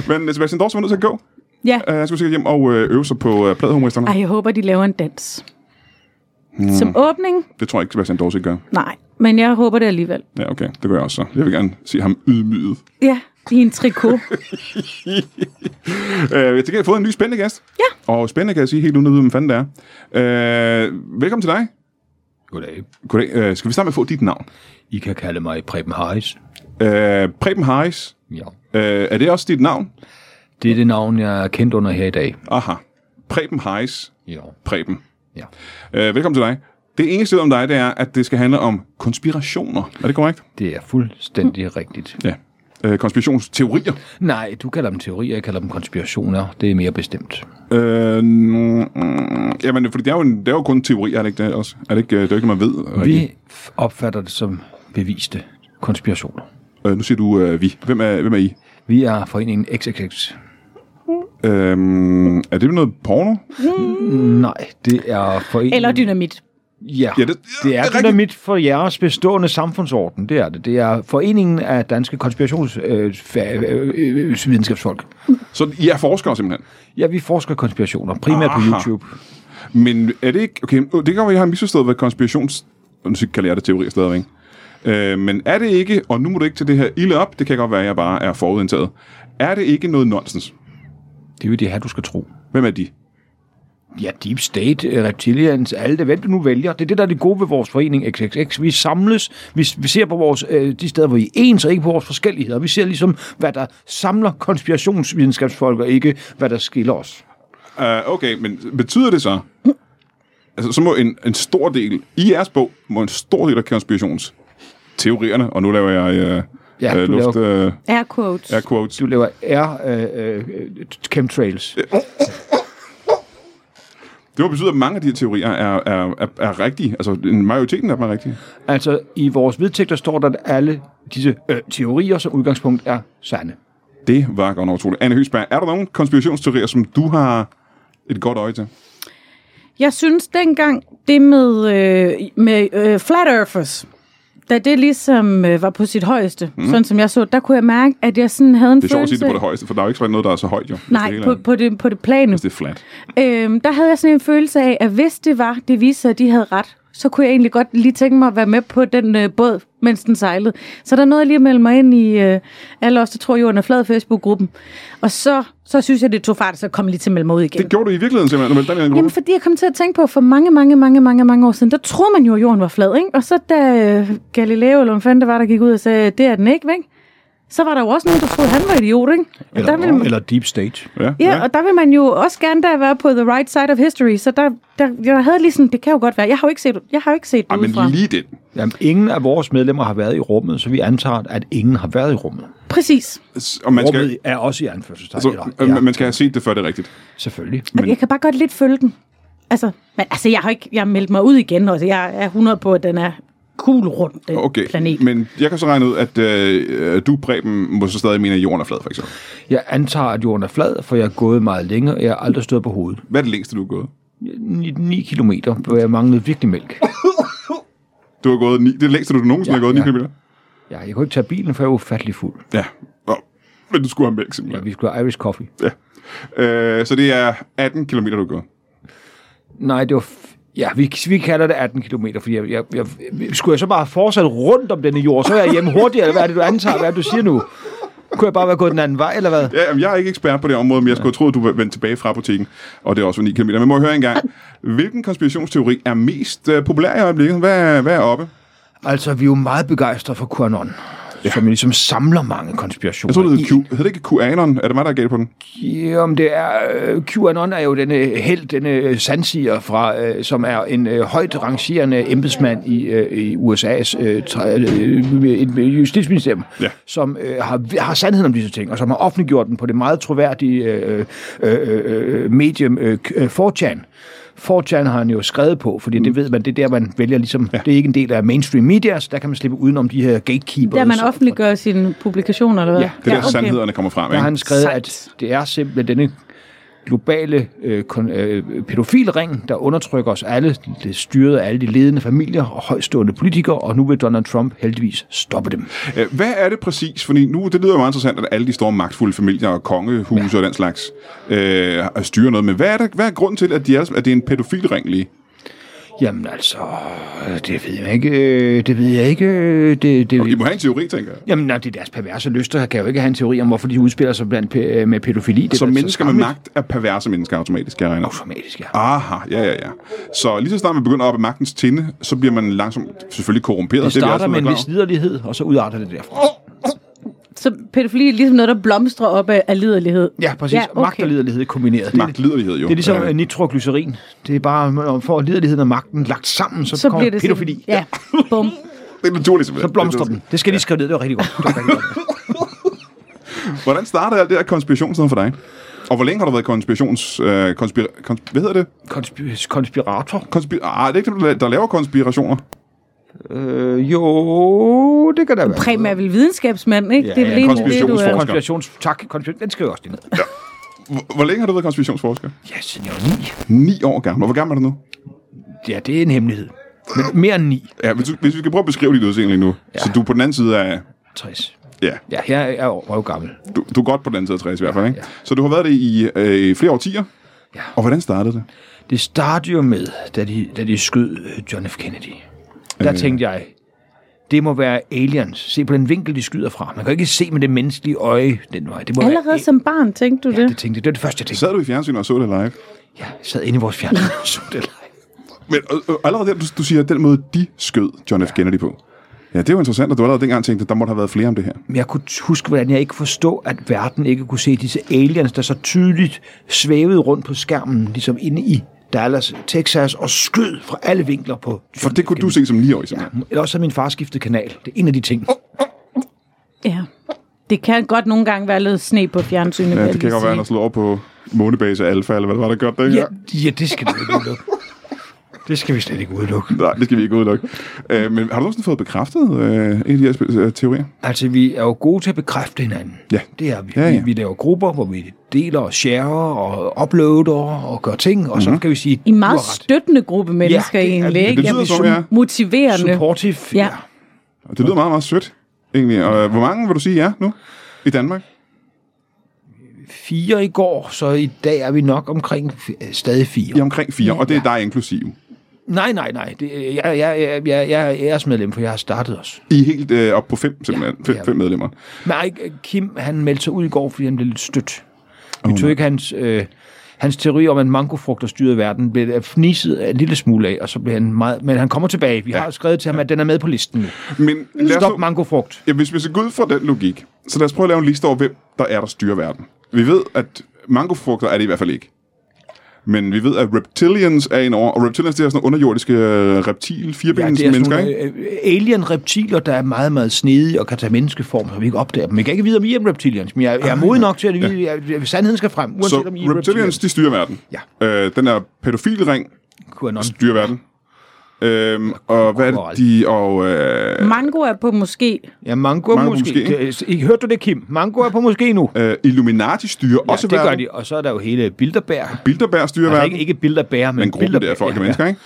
Ja. Men øh, Sebastian Dorsen var nødt til at gå. ja. Øh, Han skulle sikkert hjem og øh, øve sig på øh, pladehumoristerne. Ej, jeg håber, de laver en dans. Som åbning? Det tror jeg ikke, Sebastian Dorsen gør. Nej, men jeg håber det alligevel. Ja, okay. Det gør jeg også så. Jeg vil gerne se ham ydmyget. Ja, i en trikot. Øh, jeg tænker, jeg har fået en ny spændende gæst. Ja. Og spændende kan jeg sige helt uden at vide, hvem fanden det er. Øh, velkommen til dig. Goddag. Goddag. Øh, skal vi starte med at få dit navn? I kan kalde mig Preben Harris. Øh, Preben Harris. Ja. Øh, er det også dit navn? Det er det navn, jeg er kendt under her i dag. Aha. Preben Harris. Ja. Preben. ja. Øh, velkommen til dig. Det eneste jeg ved om dig, det er, at det skal handle om konspirationer. Er det korrekt? Det er fuldstændig rigtigt. Ja. Øh, konspirationsteorier. Nej, du kalder dem teorier, jeg kalder dem konspirationer. Det er mere bestemt. Øh, mm, mm, jamen, fordi det er, jo en, det er jo kun teorier, er det ikke det også? Er det ikke, øh, det er jo ikke, man ved? rigtigt? Vi f- opfatter det som beviste konspirationer. Øh, nu siger du øh, vi. Hvem er, hvem er I? Vi er foreningen XXX. Øh, er det noget porno? Nej, det er foreningen... Eller dynamit. Ja, Ja, ja det- det, det det er er rigtigt. dynamit for jeres bestående samfundsorden. Det er det. Det er foreningen af danske øh, konspirationsvidenskabsfolk. Så I er forskere simpelthen. øh, Ja, vi forsker konspirationer, primært på Aha. YouTube. Men er det ikke... Okay, øh, det kan godt være, jeg har misforstået, hvad konspirations... Nu kalder jeg det teorier stadigvæk. Øh, men er det ikke... Og nu må du ikke til det her ilde op. Det kan godt være, at jeg bare er forudindtaget. Er det ikke noget nonsens? Det er jo det her, du skal tro. Hvem er de? Ja, Deep State, øh, Reptilians, alle det, hvad du nu vælger. Det er det, der er det gode ved vores forening XXX. Vi samles, vi, vi ser på vores, øh, de steder, hvor vi er ens, og ikke på vores forskelligheder. Vi ser ligesom, hvad der samler Øh, konspirationsvidenskabsfolk, og ikke hvad der skiller os. Uh, okay, men betyder det så... altså, så må en, en stor del, i jeres bog, må en stor del af konspirationsteorierne, og nu laver jeg øh, Ja, ja, øh, du luft, øh, Air quotes. air quotes. Du laver R øh, øh, chemtrails. Det må betyde, at mange af de her teorier er, er, er, er rigtige. Altså, en majoriteten af dem er rigtige. Altså, i vores vedtægter står der, at alle disse øh, teorier som udgangspunkt er sande. Det var godt nok utroligt. Anne Høsberg, er der nogen konspirationsteorier, som du har et godt øje til? Jeg synes dengang, det med, øh, med øh, flat earthers, da det ligesom øh, var på sit højeste, mm. sådan som jeg så, der kunne jeg mærke, at jeg sådan havde en Mhm. Det er sjovt at følelse... sige det på det højeste, for der er jo ikke rigtig noget, der er så højt, jo. Hvis det Nej, hele på, er- på, det, på det plane. Hvis det er flat. Øhm, der havde jeg sådan en følelse af, at hvis det var, det viste sig, at de havde ret, så kunne jeg egentlig godt lige tænke mig at være med på den øh, båd, mens den sejlede. Så der nåede jeg lige at melde mig ind i øh, alle os, der tror jorden er flad Facebook-gruppen. Og så, så synes jeg, det tog fart, så kom jeg lige til at melde mig ud igen. Det gjorde du i virkeligheden simpelthen, når man den Jamen, gruppe. fordi jeg kom til at tænke på, for mange, mange, mange, mange, mange år siden, der troede man jo, at jorden var flad, ikke? Og så da øh, Galileo, eller hvem fanden det var, der gik ud og sagde, det er den ikke, ikke? Så var der jo også nogen, der troede, at han var idiot, ikke? Og der ville man, Eller deep state. Ja, ja, og der vil man jo også gerne der være på the right side of history, så der, der, jeg havde lige sådan, det kan jo godt være, jeg har jo ikke set, jeg har jo ikke set det Ej, men udefra. lige den. Jamen, ingen af vores medlemmer har været i rummet, så vi antager, at ingen har været i rummet. Præcis. Og man skal, Rummet er også i anførselstegn. altså, eller, ja, øh, man skal have set det, før det er rigtigt. selvfølgelig. Men... Jeg kan bare godt lidt følge den. Altså, men, altså jeg har ikke, jeg har meldt mig ud igen, og jeg er 100 på, at den er kuglerund, den Okay, planet. men jeg kan så regne ud, at øh, du, Preben, må så stadig mene, at jorden er flad, for eksempel. Jeg antager, at jorden er flad, for jeg er gået meget længe, og jeg har aldrig stået på hovedet. Hvad er det længste, du har gået? 9 kilometer, hvor jeg manglede virkelig mælk. Du har gået ni, det er det længste, du nogensinde Ja, har gået, 9 ja. kilometer. Ja, jeg kunne ikke tage bilen, for jeg var ufattelig fuld. Ja, og, men du skulle have mælk, Ja, simpelthen. vi skulle have Irish coffee. Ja. Øh, så det er 18 kilometer, du har gået. Nej, det var... F- ja, vi, vi kalder det 18 km, fordi jeg, jeg, jeg, skulle jeg så bare have fortsat rundt om denne jord, så er jeg hjemme hurtigere, eller hvad er det, du antager, hvad er det, du siger nu? Kunne jeg bare være gået den anden vej, eller hvad? Ja, jamen, jeg er ikke ekspert på det område, men jeg skulle ja. tro, at du var vendt tilbage fra butikken, og det er også 9 km. Men må jeg høre engang, hvilken konspirationsteori er mest øh, populær i øjeblikket? Hvad, er- hvad er oppe? Altså, vi er jo meget begejstrede for QAnon, ja. som jo ligesom samler mange konspirationer. Jeg tror, det i- hedder, Q, hedder det ikke QAnon? Er det mig, der er galt på den? Jamen, det er, øh, QAnon er jo denne held, denne sandsiger, fra, øh, som er en øh, højt rangerende embedsmand i, øh, i USA's øh, tra- øh, et justitsministerium, Ja. som øh, har, har sandheden om disse ting, og som har offentliggjort den på det meget troværdige øh, øh, øh, medium øh, k- øh, 4chan. 4chan har han jo skrevet på, fordi det ved man, det er der, man vælger ligesom, ja. det er ikke en del af mainstream media, så der kan man slippe udenom de her gatekeepers. Der man og- offentliggør sine publikationer, eller hvad? Ja, Det er ja, der, okay. sandhederne kommer frem, der har ikke? han skrevet, Sejt. at det er simpelthen denne globale øh, kon, øh, pædofilring, der undertrykker os alle, det er styret af alle de ledende familier og højstående politikere, og nu vil Donald Trump heldigvis stoppe dem. Øh, Hvad er det præcis? Fordi nu, det lyder jo meget interessant, at alle de store magtfulde familier og kongehuse ja. og den slags øh, styrer noget. Men hvad er, der, hvad er grunden til, at, de er, at det er en pædofilring lige? Jamen altså, det ved jeg ikke. øh, Det ved jeg ikke. øh, Det, det, I må have en teori, tænker jeg. Jamen, nej, det er deres perverse lyster. Jeg kan jo ikke have en teori om, hvorfor de udspiller sig blandt, pæ- med pædofili. Det er Så da mennesker med skammeligt. magt er perverse mennesker automatisk, kan jeg regne ud. Automatisk, ja. Aha, ja, ja, ja. Så lige så snart man begynder op ad magtens tinde, så bliver man langsomt selvfølgelig korrumperet. Det er vi starter altid med en klar vis liderlighed, og så udarter det derfra. Så pædofili er ligesom noget, der blomstrer op af, af liderlighed. Ja, præcis. Ja, okay. Magt og liderlighed kombineret. over. Det er- Magtliderlighed jo. Det er ligesom Ja. øh. nitroglycerin. Det er bare, når man får liderligheden og magten lagt sammen, så, så så kommer bliver det sådan- pædofili. Ja. Ja, bum. det er naturligt simpelthen. Så blomstrer den. Det skal jeg lige skrive ned. Det var rigtig godt. Det var rigtig godt. Hvordan startede alt det her konspirationsnoget for dig? Og hvor længe har du været konspirations... Øh, konspir, kons, hvad hedder det? Konspir- konspirator? Konspir, ah, det er ikke dem, der- der laver konspirationer. Øh, jo, det kan da være. Preben er vel videnskabsmand, ikke? Ja, det er vel ja, egentlig det, du konspirationsforsker. er. Konspirations... Tak, konspir- den skriver jeg også lige ned. Hvor, hvor længe har du været konspirationsforsker? Ja, siden jeg var ni. Ni år gammel. Og hvor gammel er du nu? Ja, det er en hemmelighed. Men mere end ni. Ja, hvis, du, hvis vi skal prøve at beskrive dit udseende lige nu. Ja. Så du er på den anden side af... 60. Ja, Ja, jeg er jo gammel. du, du er godt på den anden side af 60 i hvert fald, ikke? Så du har været det i øh, flere årtier. Ja. Og hvordan startede det? Det startede jo med, da de, da de skød øh, John F. Kennedy. Øh. Der tænkte jeg, det må være aliens. Se på den vinkel, de skyder fra. Man kan ikke se med det menneskelige øje den vej. Det må være Allerede som barn, tænkte du Ja, det? det tænkte jeg. Det var det første, jeg tænkte. Sad du i fjernsynet og så det live? Ja, jeg sad inde i vores fjernsyn og så det live. Men øh, øh, allerede der, du, du siger, den måde, de skød John F. Kennedy på. Ja, det er jo interessant, at du allerede dengang tænkte, at der måtte have været flere om det her. Men jeg kunne huske, hvordan jeg ikke forstod, at verden ikke kunne se disse aliens, der så tydeligt svævede rundt på skærmen, ligesom inde i Dallas, Texas og skød fra alle vinkler på. For det kunne du se som 9-årig, Ja, simpelthen. eller også har min far skiftet kanal. Det er en af de ting. Ja. Det kan godt nogle gange være lidt sne på fjernsynet. Ja, vil det kan jeg godt lige være, at han sige. slog over på månebase Alfa, eller hvad var det godt, det? Ja, Ja. ja det skal du ikke udelukke. Det skal vi slet ikke udelukke. Nej, det skal vi ikke udelukke. Øh, men har du nogensinde fået bekræftet øh, en af de her spe- øh, teorier? Altså, vi er jo gode til at bekræfte hinanden. Ja. Det er vi. Ja, Ja, ja. ja. Vi, vi laver grupper, hvor vi deler og sharer og uploader og gør ting, og mm-hmm. så kan vi sige, I en du meget har ret. støttende gruppe mennesker Ja, ja, det er egentlig. det. ikke? Det lyder Jamen, som, ja. Motiverende. supportive. Ja. Og Det lyder meget, meget sødt, egentlig. Og øh, hvor mange vil du sige ja nu i Danmark? Fire i går, så i dag er vi nok omkring f- øh, stadig fire. I er omkring fire, og det er dig inklusiv. Nej, nej, nej. Det, jeg, jeg, jeg, jeg, jeg er æresmedlem, for jeg har startet os. I er helt øh, op på fem, simpelthen. Ja, fem, det er fem medlemmer. Men ej, Kim, han meldte sig ud i går, fordi han blev lidt stødt. Vi tog ikke hans, øh, hans teori om, at mangofrugt der styrede verden, blev der fniset en lille smule af, og så blev han meget... Men han kommer tilbage. Vi ja. har jo skrevet til ham, at den er med på listen nu. Men lad os Stop nu, mangofrugt. ja, hvis vi skal gå ud fra den logik, så lad os prøve at lave en liste over, hvem der er, der styrer verden. Vi ved, at mangofrugter er det i hvert fald ikke. Men vi ved, at reptilians er en over, og reptilians det er sådan nogle underjordiske øh, reptil, firebenede ja, mennesker, ikke? nogle øh, alien-reptiler, der er meget, meget snedige og kan tage menneskeform, så vi ikke opdager dem. Jeg kan ikke vide, om I er reptilians, men jeg, jeg er modig nok til, at vide, ja. jeg, sandheden skal frem, uanset Så om I er reptilians. reptilians, de styrer verden. Ja. Øh, den er pædofilring QAnon. styrer verden. Øhm, og hvad er det, Moral. de... Og, øh, Mango er på måske. Ja, Mango mango, mango måske. måske, måske. Det, I, hørte du det, Kim? Mango er på måske nu. øh, Illuminati styrer Ja, også det gør verden. de. Og så er der jo hele Bilderberg. Bilderberg styrer Altså verden. ikke, ikke Bilderberg, men, Men gruppen der Bilderberg. af folk og mennesker, ikke?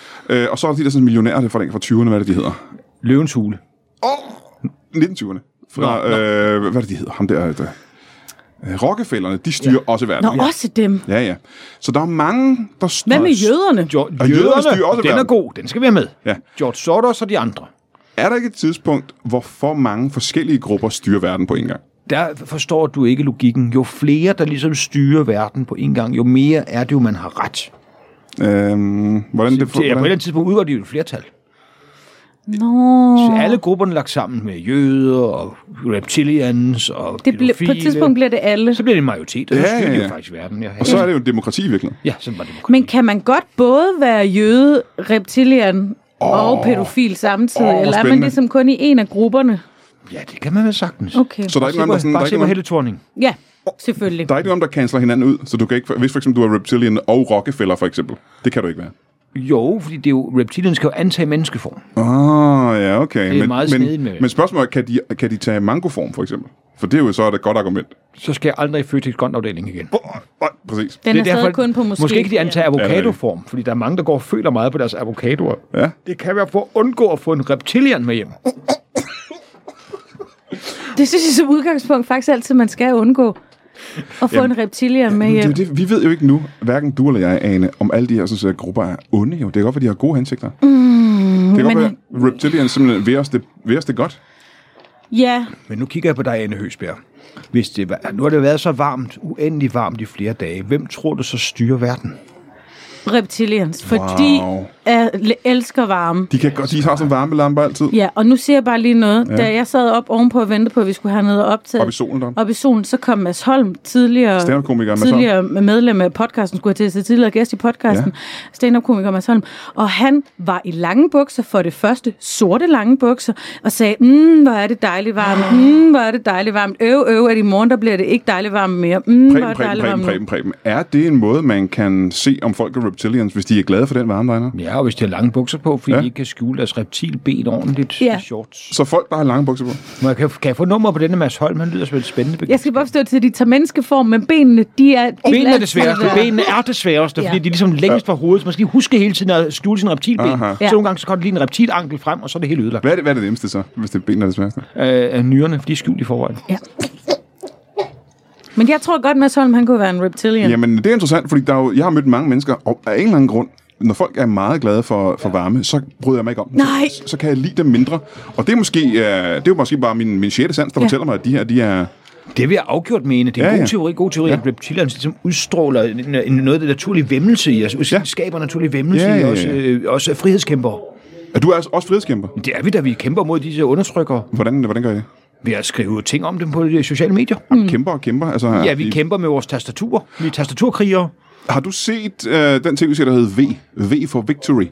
Øh, og så er der de der sådan millionærer, der er fra den fra 20'erne, hvad er det, de hedder? Løvens hule. 1920'erne. Fra, nå, øh, hvad er det, de hedder? Ham der, der. Øh, Rockefellerne, de styrer ja. også verden. Nå, også dem. Ja, ja. Så der er mange, der styrer... Hvad med jøderne? Jo, Og jøderne styrer også den er verden. god. Den skal vi have med. Ja. George Soros og de andre. Er der ikke et tidspunkt, hvor for mange forskellige grupper styrer verden på en gang? Der forstår du ikke logikken. Jo flere, der ligesom styrer verden på en gang, jo mere er det jo, man har ret. Øhm, hvordan det, for, Det er på et eller hvordan? andet tidspunkt udgør de jo et flertal. Nå. Så alle grupperne lagt sammen med jøder og reptilians og Det ble, på et pædofile. tidspunkt bliver det alle. Så bliver det en majoritet, og så Ja, styrer ja, de ja. jo faktisk verden. Ja, Og så er det jo et demokrati i virkeligheden. ja sådan var det. Men kan man godt både være jøde, reptilian oh. og pædofil samtidig? Åh, Oh, eller er man spændende. ligesom kun i en af grupperne? Ja, det kan man vel sagtens. Okay. Så der er ikke nogen, der, sådan, der, er Bare ikke se på nogen, Helle Thorning. Ja, selvfølgelig. der er ikke nogen, der canceler hinanden ud. Så du kan ikke, hvis for eksempel du er reptilian og Rockefeller for eksempel, det kan du ikke være. Jo, fordi det er jo, reptilien skal jo antage menneskeform. Åh, oh, ja, okay. Det er meget snedigt men, med- men spørgsmålet er, kan de, kan de tage mangoform, for eksempel? For det er jo så et godt argument. Så skal jeg aldrig i Føtex grøntafdeling igen. Oh, oh, præcis. Den er, er stadig kun på måske. Måske ikke de antager det er avocadoform, fordi der er mange, der går og føler meget på deres avocadoer. Ja. Det kan være for at undgå at få en reptilian med hjem. Det synes jeg som udgangspunkt faktisk altid, man skal undgå at få en reptilian med Men det er hjem. jo det, vi ved jo ikke nu, hverken du eller jeg, Ane, om alle de her sådan, set, grupper er onde. Jo. Det er godt, at de har gode hensigter. Mm, det kan godt men- være, at reptilian simpelthen vil os det, vil os det godt. Ja, Men nu kigger jeg på dig, Anne Høsbjerg. Hvis det var, nu har det været så varmt, uendelig varmt i flere dage. Hvem tror du så styrer verden? reptilians. Fordi Wow. jeg elsker varme. De, kan godt, de har sådan varme lamper altid. Ja, og nu siger jeg bare lige noget. Ja. Da jeg sad op ovenpå og ventede på, at vi skulle have noget optaget. Op i solen deroppe. Op i solen, så kom Mads Holm, tidligere, Stand-up-komiker Mads Holm. tidligere medlem af podcasten, skulle jeg til at sige, tidligere gæst i podcasten, ja. stand-up-komiker Mads Holm. Og han var i lange bukser, for det første sorte lange bukser, og sagde, mm, hvor er det dejligt varmt, Ah. mm, hvor er det dejligt varmt, øv, øv, at i morgen, der bliver det ikke dejligt varmt mere, mm, hvor er Preben, det Preben, dejligt varmt Preben, nu. Preben, Preben. Er det en måde, man kan se, om folk er reptilians, hvis de er glade for den varme, der er? inde? Ja, og hvis de har lange bukser på, fordi Ja. ja. de ikke kan skjule deres reptilben ordentligt Ja. i shorts. Så folk, der har lange bukser på. Må jeg, kan, kan jeg få nummer på denne Mads Holm? Han lyder som et spændende begreb. Jeg skal bare forstå til, at de tager menneskeform, men benene, de er... De vil Benene er altid det sværeste. være- Benene er det sværeste, Ja. fordi de er ligesom længst fra hovedet. Så man skal lige huske hele tiden at skjule sin reptilben. Aha. Ja. Så nogle gange så kommer der lige en reptilankel frem, og så er det helt ødelagt. Hvad er det, hvad er det nemmeste så, hvis det er benene, der er det sværeste? Øh, af nyrerne, for de er skjult i forvejen. Ja. Men jeg tror godt, Mads Holm, han kunne være en reptilian. Jamen. Jamen, det er interessant, fordi der er jo, jeg har mødt mange mennesker, og af en eller anden grund, når folk er meget glade for, for varme, så bryder jeg mig ikke om dem. Nej. Så, så kan jeg lide dem mindre. Og det er måske, øh, det er jo måske bare min, min sjette sans, der ja. Ja. fortæller mig, at de her, de er... Det vil jeg afgjort mene. Det er en Ja, ja, god ja. teori, god teori, ja. at reptilerne ligesom udstråler en- en- noget af det naturlige vemmelse i os. Ja. Ja. skaber naturlig vemmelse Ja, ja, ja, ja, ja. i os. Øh, også af frihedskæmpere. Er du altså også frihedskæmper? Det er vi, da vi kæmper mod disse undertrykkere. Hvordan, hvordan gør I det? Vi har skrevet ting om dem på de sociale medier. Kæmper og kæmper? Altså, Ja, vi I- kæmper med vores tastaturer. Vi er tastaturkrigere. Har du set øh, den tv-serie, der hed V? V for Victory.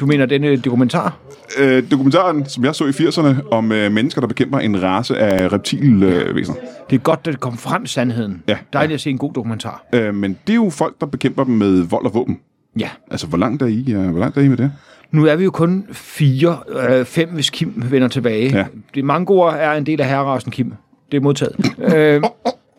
Du mener denne dokumentar? Øh, dokumentaren, som jeg så i 80'erne, om øh, mennesker, der bekæmper en race af reptilvæsener. Det er godt, at det kom frem sandheden. Ja. Dejligt at se en god dokumentar. Øh, men det er jo folk, der bekæmper dem med vold og våben. Ja. Altså, hvor langt er I, øh, hvor langt er I med det? Nu er vi jo kun fire, øh, fem, hvis Kim vender tilbage. Ja. Det mangoer er en del af herrerasen, Kim. Det er modtaget. øh,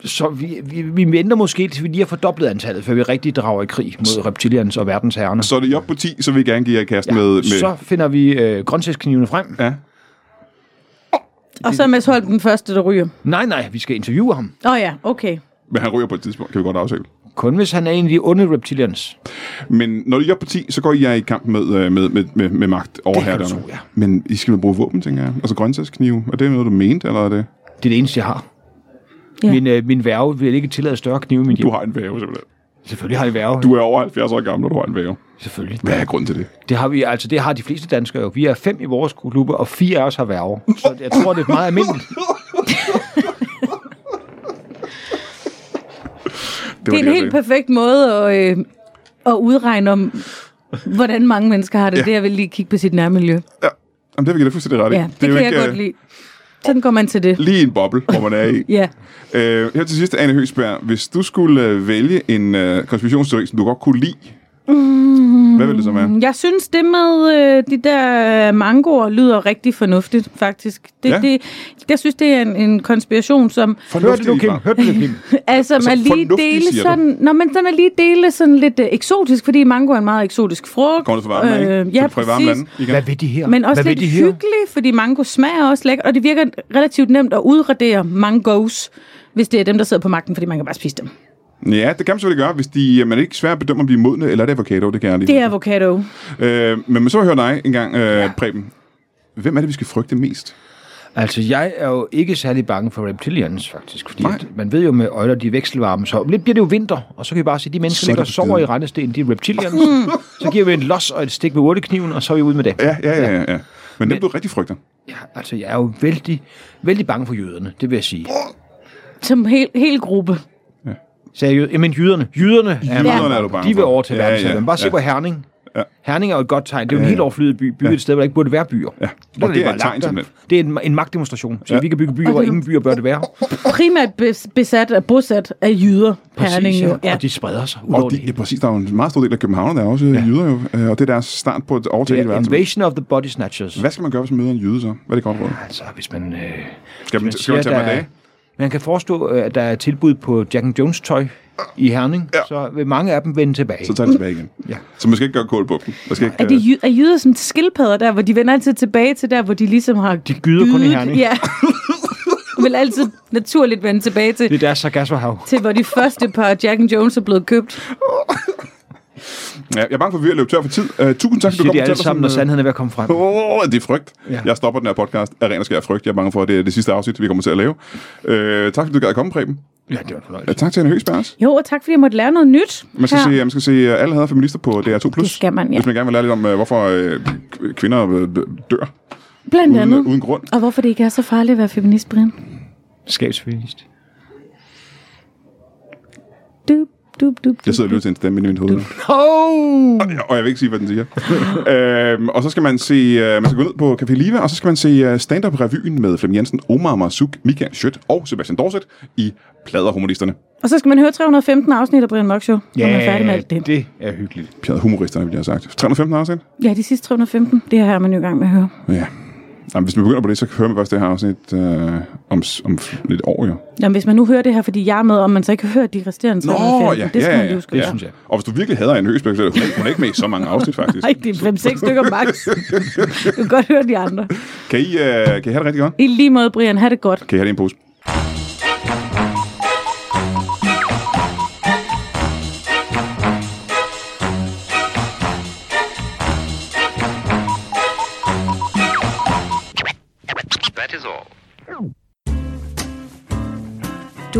så vi, vi, vi venter måske, til vi lige har fordoblet antallet, før vi rigtig drager i krig mod reptilians og verdensherrerne. Så er det op på 10, så vil jeg gerne give jer i kast ja, med... med Så finder vi øh, grøntsagsknivene frem. Ja. Og så er Mads Holm den første, der ryger. Nej, nej, vi skal interviewe ham. Åh oh, ja, okay. Men han ryger på et tidspunkt, kan vi godt aftale. Kun hvis han er en af de onde reptilians. Men når I er på 10, så går I jer i kamp med, øh, med, med, med, med magt over Det kan du herrederne. tro, ja. Men I skal vel bruge våben, tænker jeg. Altså grøntsagsknive. Er det noget, du mente, eller er det... Det er det eneste, jeg har. Ja. Ja. Min, øh, min værve vil ikke tillade større knive i min Du hjem. har en væve, simpelthen. Selvfølgelig har jeg værve. Du er over 70 år gammel, og du har en væve. Selvfølgelig. Hvad er grunden til det? Det har vi, altså det har de fleste danskere jo. Vi er fem i vores klubber, og fire af os har værve. Så jeg tror, det er meget almindeligt. Det, det er en helt perfekt måde at, øh, at udregne om, hvordan mange mennesker har det. Ja. Det er vel lige at kigge på sit nærmiljø. Ja. Jamen, det vil jeg da fuldstændig ret i. Ja, det, er det jo kan jeg ikke, godt øh, lide. Sådan går man til det. Lige en boble, hvor man er i. Ja. øh, her til sidst, Anne Høgsberg. Hvis du skulle øh, vælge en øh, konspirationsteori, som du godt kunne lide, mm. hvad ville det så være? Jeg synes, det med øh, de der øh, mangoer lyder rigtig fornuftigt, faktisk. Det, Ja. ja. det, jeg synes, det er en, en konspiration, som Hørte du, Kim? Ivar. Hørte du, Kim? altså, altså, man lige fornuftig, dele siger du? sådan... Nå, men den er lige dele sådan lidt øh, eksotisk, fordi mango er en meget eksotisk frugt. Kommer du fra varme, øh, ikke? ja, fra varme præcis. lande igen? Hvad vil de her? Men også Hvad lidt vil de her? hyggelig, fordi mango smager også lækkert, og det virker relativt nemt at udradere mangoes, hvis det er dem, der sidder på magten, fordi man kan bare spise dem. Ja, det kan man selvfølgelig gøre, hvis de, øh, man er ikke svært at bedømme, om de er modne, eller er det avocado, det kan jeg lige. Det er avocado. Øh, men men så hører dig engang, øh, ja. Preben. Hvem er det, vi skal frygte mest? Altså, jeg er jo ikke særlig bange for reptilians, faktisk. Fordi Nej. at man ved jo med øjler, de er vekselvarme, så lidt bliver det jo vinter, og så kan vi bare sige, at de mennesker, Så er der ligger det og sover bestemt. i rendesten, de er reptilians. Mm. så giver vi en los og et stik med urtekniven, og så er vi ude med det. Ja, ja, ja. ja. Men, men dem, du rigtig frygter. Ja, altså, jeg er jo vældig, vældig bange for jøderne, det vil jeg sige. Som hel, hel gruppe. Sagde jeg jød- Jamen, jøderne. Jøderne, er Jøderne meget- er du bange de vil for. overtage Ja, ja, verden. ja, Ja, bare se ja. på Herning. Ja. Herning er jo et godt tegn. Det er jo en Ja, helt ja. overflydet by, bygget et sted, hvor der ikke burde være byer. Ja. Og det er et tegn, simpelthen. Det er en, en magtdemonstration. Så Ja. ja. vi kan bygge byer, hvor ingen byer bør det være. Primært bes- besat og bosat af jyder. Herning, jo. ja. ja. Og de spreder sig ud over Og det de, ja, hele. præcis, der er jo en meget stor del af københavnerne, der er også ja. jyder jo, øh, og det er deres start på et overtag i Det er verden. invasion of the body snatchers. altså. Hvad skal man gøre, hvis man møder en jyde så? Hvad er det godt råd? Altså, hvis man... Øh, Skal man, man skal man tage siger, mig der er- dage? man kan forestå, øh, at der er tilbud på Jack and Jones tøj i Herning, ja. så vil mange af dem vende tilbage. Så tager det tilbage igen. Ja. Så man skal ikke gøre kål på dem. Man skal ikke, Er, de, øh, jy- er jyder sådan skildpadder der, hvor de vender altid tilbage til der, hvor de ligesom har... De gyder kun i Herning. Ja. vil altid naturligt vende tilbage Det til, er deres sargasmerhav. til, hvor de første par Jack and Jones er blevet købt. øh, ja, jeg er bange for, at vi er løbet tør for tid. Uh, tusind tak, fordi Siger du kom de og alle fortalte sammen, når os om, øh, sandheden er ved at komme frem. Åh, det er frygt. Ja. Ja. Jeg stopper den her podcast af ren og skær frygt. Jeg er bange for, at det er det sidste afsnit, vi kommer til at lave. Øh, tak fordi du gad at komme, Preben. Ja, det var en fornøjelse. Øh, tak til Anne Høgsberg også. Jo, og tak fordi jeg måtte lære noget nyt. Man skal, her. se, man skal se øh, alle hader feminister på DR2+. Det skal man, ja. Hvis man gerne vil lære lidt om, øh, hvorfor øh, k- kvinder øh, d- dør Blandt uden, andet. øh, uden grund. Og hvorfor det ikke er så farligt at være feminist, Brian? Skabsfeminist. Du, du, du, du. Jeg sidder og lytter til en stemme inde i mit hoved. nu. Oh! Og jeg vil ikke sige, hvad den siger. øhm, og så skal man se, øh, man skal gå ned på Café Liva, og så skal man se øh, stand-up-revyen med Flemming Jensen, Omar Marsuk, Michael Schødt og Sebastian Dorset i Pladerhumoristerne. Og så skal man høre 315 afsnit af Brian Mørk Show, når man er færdig med alt det. det er hyggeligt. Pladerhumoristerne, vil jeg have sagt. 315 afsnit? Ja, de sidste 315, det her er man jo i gang med at høre. Ja. Jamen, hvis man begynder på det, så hører man først det her afsnit øh, om, s- om f- lidt år, jo. Jamen, hvis man nu hører det her, fordi jeg er med, og man så ikke hører de resterende 315, det skal man lige huske. ja. at gøre. synes jeg. Og hvis du virkelig hader en Høgsberg, så er hun, hun er ikke med i så mange afsnit, faktisk. Nej, det er 5-6 stykker max. du kan godt høre de andre. Kan I, øh, kan I have det rigtig godt? I lige måde, Brian, ha' det godt. Kan I have det i en pose? That is all. Du